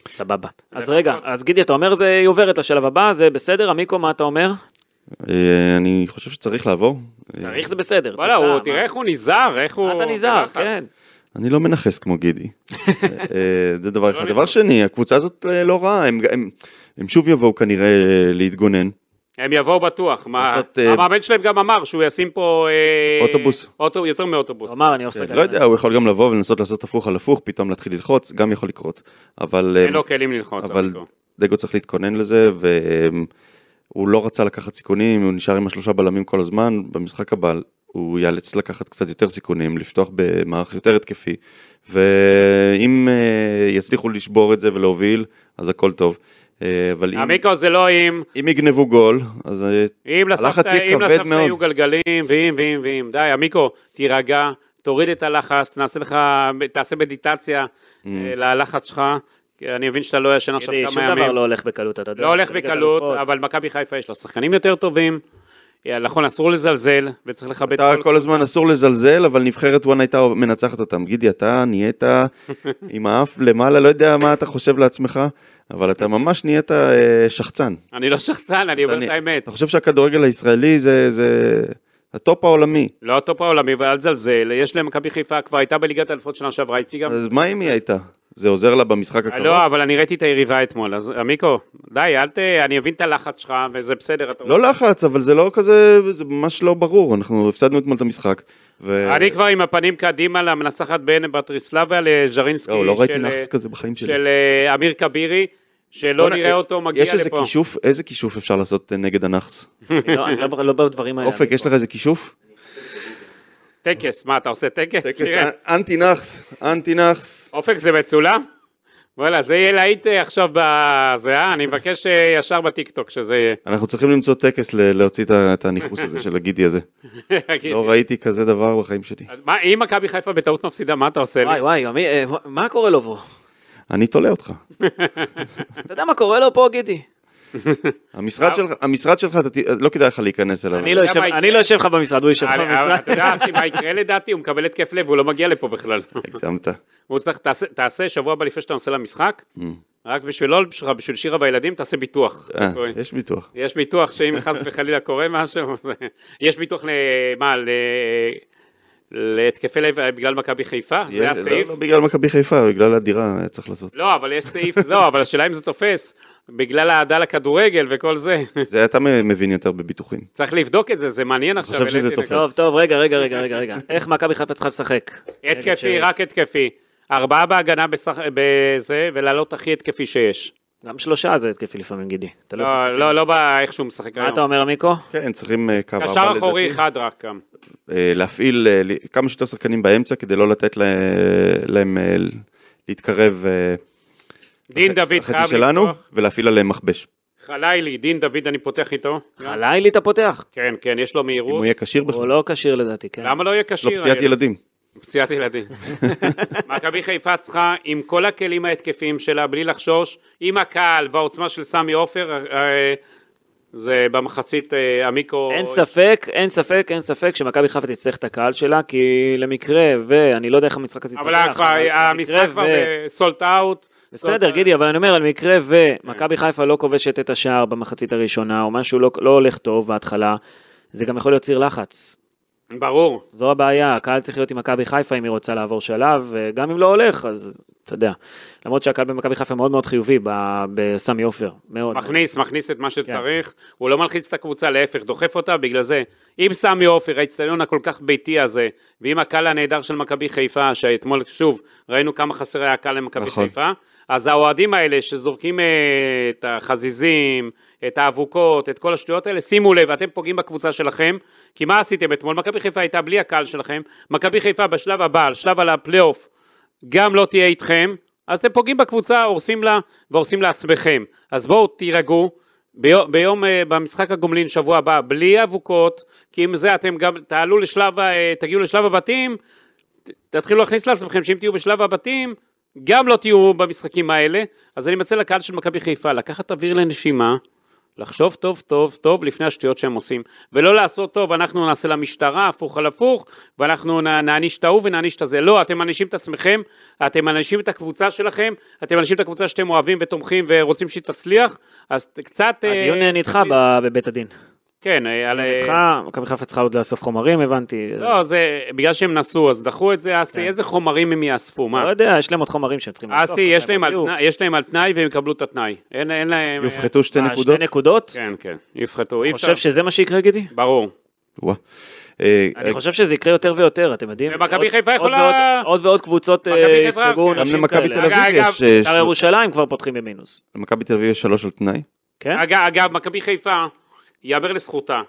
B: סבבה. אז רגע, אז גידי, אתה אומר זה היא עוברת לשלב הבא, זה בסדר, עמיקו, מה אתה אומר?
D: אה, אני חושב שצריך לעבור. אה,
B: צריך זה בסדר.
C: וואלה,
B: לא תוצאה,
C: הוא,
B: מה?
C: תראה איך הוא נזהר, איך הוא...
B: אתה נזהר,
C: בלחץ.
B: כן.
D: אני לא מנכס כמו גידי. אה, זה דבר אחד.
C: לא
D: דבר
C: נכנס.
D: שני, הקבוצה הזאת אה, לא רעה, הם- הם- הם שוב יבואו כנראה אה, להתגונן.
C: הם יבואו בטוח. מה-
D: לעשות, אה,
C: המאמן שלהם גם אמר שהוא ישים פה... אה,
D: אוטובוס.
C: אוטו- יותר מאוטובוס.
B: הוא אמר, אני עושה
D: לא יודע, הוא יכול גם לבוא ולנסות לעשות הפוך על הפוך, פתאום להתחיל ללחוץ, גם יכול לקרות. אבל... אה,
C: אין לו כלים ללחוץ.
D: אבל
C: אמיתו.
D: דגו צריך להתכונן לזה, והוא לא רצה לקחת סיכונים, הוא נשאר עם השלושה בלמים כל הזמן, במשחק הבא הוא ייאלץ לקחת קצת יותר סיכונים, לפתוח במערך יותר התקפי, ואם אה, יצליחו לשבור את זה ולהוביל, אז הכל טוב. אה, אבל אם,
C: המיקרו זה לא אם,
D: אם יגנבו גול, אז אה,
C: אם
D: הלחץ
C: לסבתא
D: יהיה
C: אם
D: כבד
C: לסבתא
D: מאוד.
C: יהיו גלגלים, ואם, ואם, ואם. די, המיקרו, תירגע, תוריד את הלחץ, נעשה לך, תעשה מדיטציה
D: Mm.
C: אה, ללחץ שלך. כי אני מבין שאתה לא ישן עכשיו
B: גידי,
C: כמה
B: שום דבר
C: ימים.
B: לא הולך בקלות, אתה יודע.
C: לא הולך
B: ליגת
C: בקלות,
B: אלופות.
C: אבל מכבי חיפה יש לה שחקנים יותר טובים. אה, נכון, אסור לזלזל, וצריך לכבד
D: אתה כל הזמן אסור לזלזל, אבל נבחרת וואן הייתה מנצחת אותם. גידי, אתה נהיית עם האף למעלה, לא יודע מה אתה חושב לעצמך, אבל אתה ממש נהיית אה, שחצן.
C: אני לא שחצן, אני אומר
D: אני-
C: את האמת.
D: אתה חושב שהכדורגל הישראלי זה, זה הטופ העולמי,
C: לא הטופ העולמי, ואל תזלזל, יש להם מכבי חיפה, כבר הייתה בליגת האלפות שנה שעברה, הציגה...
D: אז מה אם היא הייתה? זה עוזר לה במשחק הקרוב?
C: לא, אבל אני ראיתי את היריבה אתמול, אז עמיקו, די, אל ת... אני מבין את הלחץ שלך, וזה בסדר, אתה...
D: לא לחץ, אבל זה לא כזה, זה ממש לא ברור, אנחנו הפסדנו אתמול את המשחק. ו...
C: אני כבר עם הפנים קדימה למנצחת בין בטריסלבה לז'רינסקי,
D: לא, לא ראיתי
C: אה, של,
D: נחס כזה בחיים שלי.
C: של אה, אמיר כבירי, שלא
D: בוא'נה,
C: לא
D: אה,
C: נראה אותו מגיע
D: יש איזה
C: לפה.
D: כישוף, איזה כישוף אפשר לעשות אה, נגד הנאחס?
B: אני לא- אני לא- לא בדברים האלה.
D: אופק, יש לך איזה כישוף?
C: טקס, מה, אתה עושה טקס?
D: טקס אה-
C: תראה.
D: אנטי נאחס, אנטי נאחס.
C: אופק, זה מצולם? וואלה, זה יהיה להיט אה, עכשיו בזה, אה? אני מבקש אה, ישר בטיקטוק שזה יהיה.
D: אנחנו צריכים למצוא טקס ל- להוציא את ה- את הניכוס הזה של הגידי הזה. לא ראיתי כזה דבר בחיים שלי.
C: אז מה, אם מכבי חיפה בטעות מפסידה, מה אתה עושה לי?
B: וואי וואי, עמי, אה, מה קורה לו פה?
D: אני תולה אותך.
B: אתה יודע מה קורה לו פה, גידי?
C: אה.
D: המשרד שלך, המשרד שלך, אתה ת- לא כדאי לך להיכנס אליו.
B: אני לא
C: יודע
B: יושב-
C: מה יקרה?
B: אני לא יושב לך במשרד, הוא יושב לך
C: אבל- אבל אתה
B: במשרד.
C: יודע אסי, מה יקרה לדעתי? הוא מקבל התקף לב, הוא לא מגיע לפה בכלל.
D: הגזמת. אה,
C: הוא צריך, תעשה- תעשה שבוע הבא לפני שאתה נוסע למשחק, רק בשביל לא בשבילך, בשביל שירה והילדים, תעשה ביטוח.
D: אה,
C: אתה טועה.
D: יש ביטוח.
C: יש ביטוח שאם חס וחלילה קורה משהו, זה- יש ביטוח ל... מה, ל... להתקפי לב אה, בגלל מכבי חיפה? זה
D: יש-
C: הסעיף?
D: לא, לא בגלל מכבי חיפה, בגלל הדירה היה צריך לעשות.
C: לא, אבל יש סעיף, לא, אבל השאלה אם זה תופס, בגלל האהדה לכדורגל וכל זה.
D: זה אתה מ- מבין יותר בביטוחים.
C: צריך לבדוק את זה, זה מעניין עכשיו.
D: חושב שזה
C: העליתי
D: תופס.
B: טוב, טוב, רגע, רגע, רגע, רגע, רגע. איך מכבי חיפה צריכה לשחק?
C: נקודה.
B: נגד
C: התקפי,
B: שריף?
C: רק התקפי. ארבעה בהגנה בסך- בזה, ולעלות הכי התקפי שיש.
B: גם שלושה זה התקפי לפעמים, גידי. אתה לא יכול
C: לא,
B: להסתכל.
C: לא, לא בא איך שהוא משחק
B: מה
C: היום.
B: אתה אומר, מיקו?
D: כן, צריכים אה, קו ארבע
C: קשר אחורי
D: לדעתי.
C: אחד רק גם.
D: אה, להפעיל אה, ל- כמה שיותר שחקנים באמצע כדי לא לתת לה- להם אה, ל- להתקרב אה,
C: דין
D: לח-
C: דוד
D: לחצי
C: חייב
D: שלנו
C: לפתוח.
D: ולהפעיל עליהם מכבש.
C: חלילי, דין דוד אני פותח איתו.
B: חלילי אתה פותח?
C: כן, כן, יש לו
D: אם הוא
C: מהירות.
D: יהיה כשיר
B: הוא
D: בכלל,
B: לא כשיר לדעתי, כן.
C: למה לא יהיה
D: יש לו
C: כשיר?
D: פציעת
C: היום?
D: ילדים.
C: פציעת ילדים. מכבי חיפה צריכה, עם כל הכלים ההתקפיים שלה, בלי לחשוש, עם הקהל והעוצמה של סמי עופר, אה, זה במחצית אה, המיקרו...
B: אין ספק, אין ספק, אין ספק שמכבי חיפה תצטרך את הקהל שלה, כי למקרה, ואני לא יודע איך המשחק הזה
C: אבל
B: יתפתח,
C: כבר- המשחק
B: למקרה
C: כבר אה,
B: ו-
C: סולט אאוט.
B: בסדר, גידי, אבל אני אומר, על מקרה
C: כן.
B: ומכבי חיפה לא כובשת את השער במחצית הראשונה, או משהו לא, לא הולך טוב בהתחלה, זה גם יכול להיות ציר לחץ.
C: ברור.
B: זו הבעיה, הקהל צריך להיות עם מכבי חיפה אם היא רוצה לעבור שלב, וגם אם לא הולך, אז אתה יודע. למרות שהקהל במכבי חיפה מאוד מאוד חיובי ב- בסמי עופר, מאוד.
C: מכניס, מכניס
B: כן.
C: את מה שצריך, הוא לא מלחיץ את הקבוצה, להפך, דוחף אותה, בגלל זה, אם סמי עופר, האצטדיון הכל כך ביתי הזה, ועם הקהל הנהדר של מכבי חיפה, שאתמול, שוב, ראינו כמה חסר היה הקהל למכבי
D: נכון.
C: חיפה, אז האוהדים האלה שזורקים אה, את החזיזים, את האבוקות, את כל השטויות האלה, שימו לב, אתם פוגעים בקבוצה שלכם, כי מה עשיתם אתמול? מכבי חיפה הייתה בלי הקהל שלכם, מכבי חיפה בשלב הבא, על שלב על הפלייאוף, גם לא תהיה איתכם, אז אתם פוגעים בקבוצה, הורסים לה והורסים לעצמכם. אז בואו תירגעו. ביום, ביום אה, במשחק הגומלין שבוע הבא, בלי אבוקות, כי עם זה אתם גם תעלו לשלב, ה- אה, תגיעו לשלב הבתים, ת- תתחילו להכניס לעצמכם שאם תהיו בשלב הבתים, גם לא תהיו במשחקים האלה. אז אני מציע לקהל של מכבי חיפה לקחת אוויר לנשימה, לחשוב טוב טוב טוב לפני השטויות שהם עושים, ולא לעשות טוב, אנחנו נעשה למשטרה הפוך על הפוך, ואנחנו נ- נעניש את ההוא ונעניש את הזה. לא, אתם מענישים את עצמכם, אתם מענישים את הקבוצה שלכם, אתם מענישים את הקבוצה שאתם אוהבים ותומכים ורוצים שהיא תצליח, אז ת- קצת... אה,
B: הדיון אה, נדחה
C: תכניס-
B: ב- בבית הדין.
C: כן, אה, על... אה,
B: נדחה, מכבי חיפה צריכה עוד לאסוף חומרים, הבנתי.
C: לא, זה בגלל שהם נסעו, אז דחו את זה, אסי, איזה חומרים הם יאספו,
B: לא
C: מה?
B: יודע, יש להם עוד חומרים שהם צריכים לאסוף.
C: אסי, אה, יש להם על
B: בדיוק.
C: תנאי- יש להם על תנאי והם יקבלו את התנאי. אין אין להם... אה,
D: יופחתו שתי
B: אה,
D: נקודות.
B: שתי נקודות?
C: כן, כן, יפחתו. אי
B: אני
C: אפשר...
B: חושב שזה מה שיקרה, גידי?
C: ברור.
D: וואה. אה,
B: אני חושב שזה יקרה יותר ויותר, אתם יודעים?
C: ומכבי
B: עוד-
C: חיפה
B: עוד
C: יכולה-
B: ועוד- עוד ועוד קבוצות אה,
C: מכבי חיפה-
B: יספגו
C: גם
D: גם
B: נשים
D: למכבי
B: כאלה.
D: תל אביב
C: אגב, אגב,
D: יש, אה,
B: שער
D: שלו-
B: ירושלים כבר פותחים במינוס.
D: למכבי תל אביב יש שלוש על תנאי.
B: כן?
C: אגב, אגב, מכבי חיפה, יאמר לזכותה,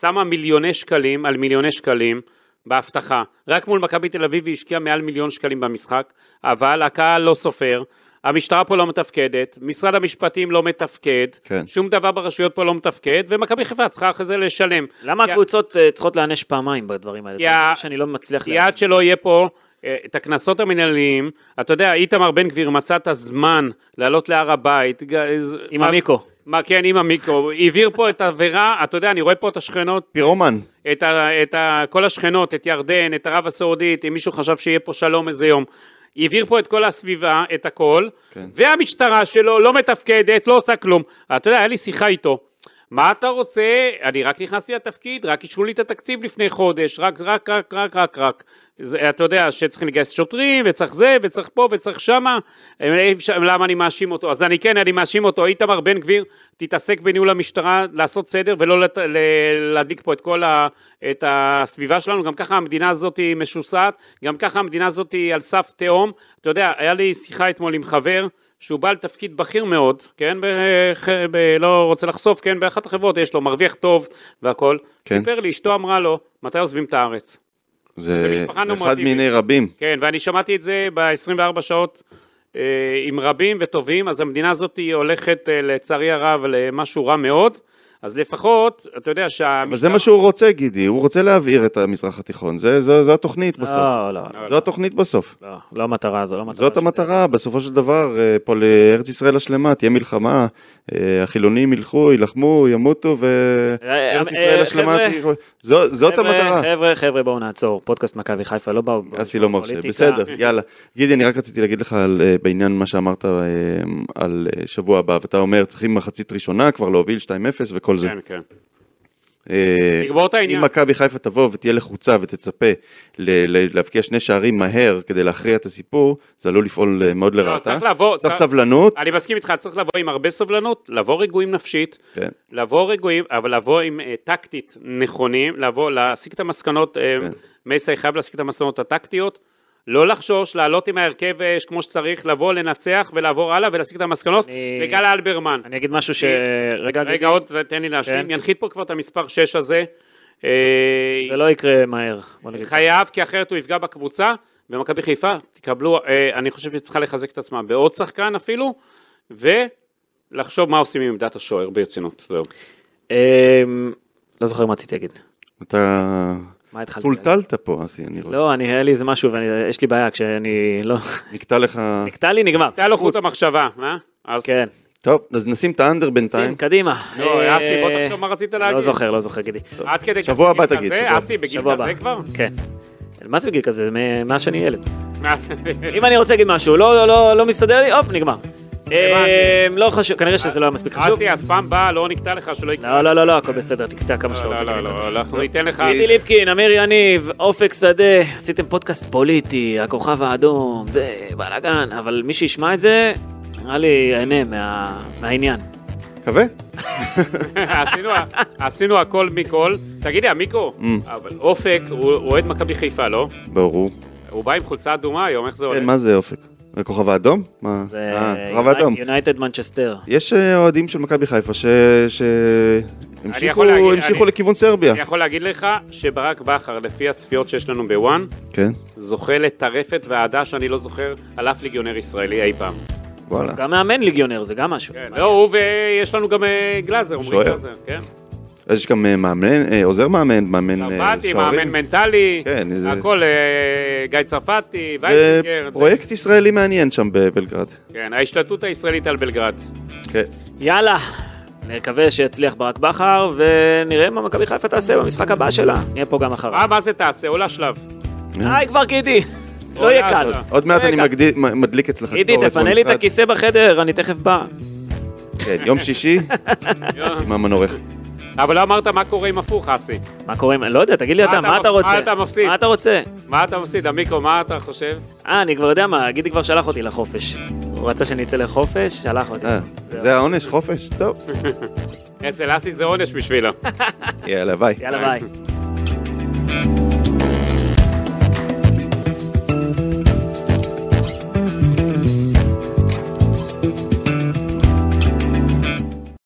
C: שמה מיליוני שקלים על מיליוני שקלים בהבטחה. רק מול מכבי תל אביב היא השקיעה מעל מיליון שקלים במשחק, אבל הקהל לא סופר. המשטרה פה לא מתפקדת, משרד המשפטים לא מתפקד,
D: כן.
C: שום דבר ברשויות פה לא מתפקד, ומכבי חיפה צריכה אחרי זה לשלם.
B: למה
C: כי-
B: הקבוצות אה, צריכות להיענש פעמיים בדברים האלה? זה
C: כי ה-
B: דבר שאני לא מצליח
C: כי עד שלא יהיה פה אה, את הקנסות המנהליים, אתה יודע, איתמר בן גביר מצא את הזמן לעלות להר הבית. ג- אז-
B: עם המיקרו.
C: מה, כן, עם המיקרו. הבהיר פה את העבירה, אתה יודע, אני רואה פה את השכנות,
D: פירומן.
C: את, ה, את ה, כל השכנות, את ירדן, את ערב הסעודית, אם מישהו חשב שיהיה פה שלום איזה יום. הבהיר פה את כל הסביבה, את הכל,
D: כן.
C: כן. והמשטרה שלו לא מתפקדת, לא עושה כלום. אתה יודע, היה לי שיחה איתו. מה אתה רוצה? אני רק נכנסתי לתפקיד, רק אישרו לי את התקציב לפני חודש, רק, רק, רק, רק, רק, רק. זה, אתה יודע, שצריכים לגייס שוטרים, וצריך זה, וצריך פה, וצריך שמה. הם- אי אפשר- למה אני מאשים אותו? אז אני כן, אני מאשים אותו. איתמר בן גביר, תתעסק בניהול המשטרה, לעשות סדר, ולא לת, ל, להדליק פה את כל ה, את הסביבה שלנו. גם ככה המדינה הזאת היא משוסעת, גם ככה המדינה הזאת היא על סף תהום. אתה יודע, היה לי שיחה אתמול עם חבר, שהוא בעל תפקיד בכיר מאוד, כן, בח... ב... לא רוצה לחשוף, כן, באחת החברות יש לו, מרוויח טוב והכול.
D: כן.
C: כן. סיפר לי, אשתו אמרה לו, מתי עוזבים את הארץ? זה
D: זה זה
C: משפחה
D: אחד
C: נורמטיבית.
D: מיני רבים.
C: כן, ואני שמעתי את זה ב-24 שעות אה, עם רבים וטובים, אז המדינה הזאת היא הולכת, אה, לצערי הרב, למשהו רע מאוד. אז לפחות, אתה יודע שהמשטר...
D: אבל זה מה שהוא רוצה, גידי, הוא רוצה להבעיר את המזרח התיכון, זה- זו זו התוכנית בסוף.
B: לא, לא, לא,
D: זו התוכנית בסוף.
B: לא, לא המטרה, זו לא המטרה.
D: זאת
B: של-
D: המטרה, בסופו של דבר, אה, פה לארץ ישראל השלמה, תהיה מלחמה, אה, החילונים ילכו, יילחמו, ימותו,
B: אה,
D: וארץ
B: אה,
D: ישראל
B: אה,
D: השלמה,
B: חבר'ה.
D: תהיה- זו- זאת
B: חבר'ה,
D: המטרה.
B: חבר'ה, חבר'ה, בואו נעצור. פודקאסט מכבי חיפה, לא באו...
D: אסי לא מרשה,
B: פוליטיקה.
D: בסדר, יאללה. גידי, אני רק רציתי להגיד לך על, אה, בעניין מה שאמרת אה, על אה, שבוע הבא, ואתה אומר, צריכים מחצית ראשונה כבר להוביל 2-0 וכל זה.
C: כן, כן.
D: אה,
C: תגמור את העניין.
D: אם מכבי חיפה תבוא ותהיה לחוצה ותצפה ל- ל- להבקיע שני שערים מהר כדי להכריע את הסיפור, זה עלול לפעול אה, מאוד לרעתה.
C: לא, צריך לבוא,
D: צריך
C: צריך- אה.
D: סבלנות.
C: אני מסכים איתך, צריך לבוא עם הרבה סבלנות, לבוא רגועים נפשית,
D: כן.
C: לבוא רגועים, אבל לבוא עם אה, טקטית נכונים, לבוא, להסיק את המסקנות, אה,
D: כן.
C: מייסי חייב להסיק את המסקנות הטקטיות, לא לחשוש, לעלות עם ההרכב אה, כמו שצריך, לבוא, לנצח ולעבור הלאה ולהסיק את המסקנות,
B: אני-
C: וגל אלברמן.
B: אני אגיד משהו ש... רגע, רגע,
C: רגע, עוד תן לי
B: כן.
C: להשלים, ינחית פה כבר את המספר 6 הזה. אה,
B: זה לא יקרה מהר. בוא נגיד.
C: חייב, כי אחרת הוא יפגע בקבוצה, ומכבי חיפה, תקבלו, אה, אני חושב שהיא צריכה לחזק את עצמה בעוד שחקן אפילו, ולחשוב מה עושים עם עמדת השוער ברצינות, זהו.
B: אמ, לא זוכר מה רציתי להגיד.
D: אתה
B: מה התחלתי?
D: טולטלת פה, אסי, אני רואה.
B: לא, אני, היה לי איזה משהו, ויש לי בעיה כשאני לא...
D: נקטע לך...
B: נקטע לי, נגמר.
C: הייתה לו חוט המחשבה, אה? אז
B: כן.
D: טוב, אז נשים את האנדר בינתיים.
B: שים, קדימה.
C: לא,
B: אה,
C: אסי, בוא תחשוב מה רצית להגיד.
B: לא זוכר, לא זוכר, גידי.
C: עד כדי כך
D: שבוע הבא
C: בגיל
D: תגיד,
C: כזה?
D: שבוע הבא.
C: אסי, בגיל
B: שבוע
C: כזה
B: הבא.
C: כבר?
B: כן. מה זה בגיל כזה? מ- מאז שאני ילד.
C: אז-
B: אם אני רוצה להגיד משהו, לא- לא לא- לא מסתדר לי, הופ, נגמר. אמ, לא חשוב, כנראה שזה לא היה מספיק חשוב.
C: אסי, אז פעם באה, לא נקטע לך, שלא יקרה.
B: לא, לא, לא, לא, הכל בסדר, תקטע כמה שאתה
C: לא,
B: רוצה.
C: לא,
B: גידי.
C: לא, אנחנו ניתן לך...
B: גידי ליפקין, אמיר יניב, אופק שדה, עשיתם פודקאסט פוליטי, הכוכב האדום, זה בלאגן, אבל מי שישמע את זה, נראה לי ייהנה מה- מהעניין.
D: מקווה?
C: עשינו, עשינו הכל מכל. תגידי, המיקרו,
D: Mm.
C: אבל אופק, הוא הוא אוהד מכבי חיפה, לא?
D: ברור.
C: הוא בא עם חולצה אדומה היום, איך זה
D: כן,
C: הולך?
D: מה זה אופק? הכוכב האדום? מה?
B: זה
D: אה, הכוכב האדום.
B: יונייטד מנצ'סטר.
D: יש אה, אוהדים של מכבי חיפה ש... ש... המשיכו,
C: יכול להגיד,
D: המשיכו
C: אני-
D: לכיוון סרביה.
C: אני יכול להגיד לך שברק בכר, לפי הצפיות שיש לנו בוואן,
D: כן,
C: זוכה לטרפת ואהדה שאני לא זוכר על אף ליגיונר ישראלי אי פעם.
D: וואלה.
B: גם מאמן ליגיונר, זה גם משהו.
C: כן, לא, הוא ויש לנו גם אה, גלאזר, עומרי
D: שוער.
C: גלאזר, כן.
D: אז יש גם אה, מאמן, אה, עוזר מאמן, מאמן אה,
C: צרפתי, מאמן
D: שערים.
C: מנטלי,
D: כן, זה-
C: הכל, אה, גיא צרפתי,
D: זה
C: וייסינגר,
D: פרויקט ישראלי מעניין שם בבלגרד.
C: כן, ההשתלטות הישראלית על בלגרד.
D: כן.
B: יאללה, נקווה שיצליח ברק בכר, ונראה מה מכבי חיפה תעשה במשחק הבא שלה. נהיה פה גם אחריו.
C: אה, מה- מה זה תעשה? עולה שלב.
B: די כבר, קידי. לא יהיה קל.
C: עוד-
D: עוד מעט
B: רגע.
D: אני מגדיל- מ- מדליק אצלך
B: קידי,
D: קטורת
B: תפנה לי את
D: במשרד.
B: הכיסא בחדר, אני תכף בא.
D: כן, יום שישי, ממן עורך.
C: אה, אבל לא אמרת מה קורה עם הפוך, אסי.
B: מה קורה? עם- לא יודע, תגיד לי
C: מה
B: אתה,
C: אתה
B: מה
C: מפ-
B: אתה רוצה?
C: מה אתה מפסיד?
B: מה אתה רוצה?
C: מה אתה מפסיד? המיקרו, מה אתה חושב?
B: אה, אני כבר יודע מה, גידי כבר שלח אותי לחופש. הוא רצה שאני אצא לחופש, שלח אותי.
D: אה, זה העונש, חופש, טוב.
C: אצל אסי זה עונש בשבילו.
D: יאללה, ביי.
B: יאללה, ביי.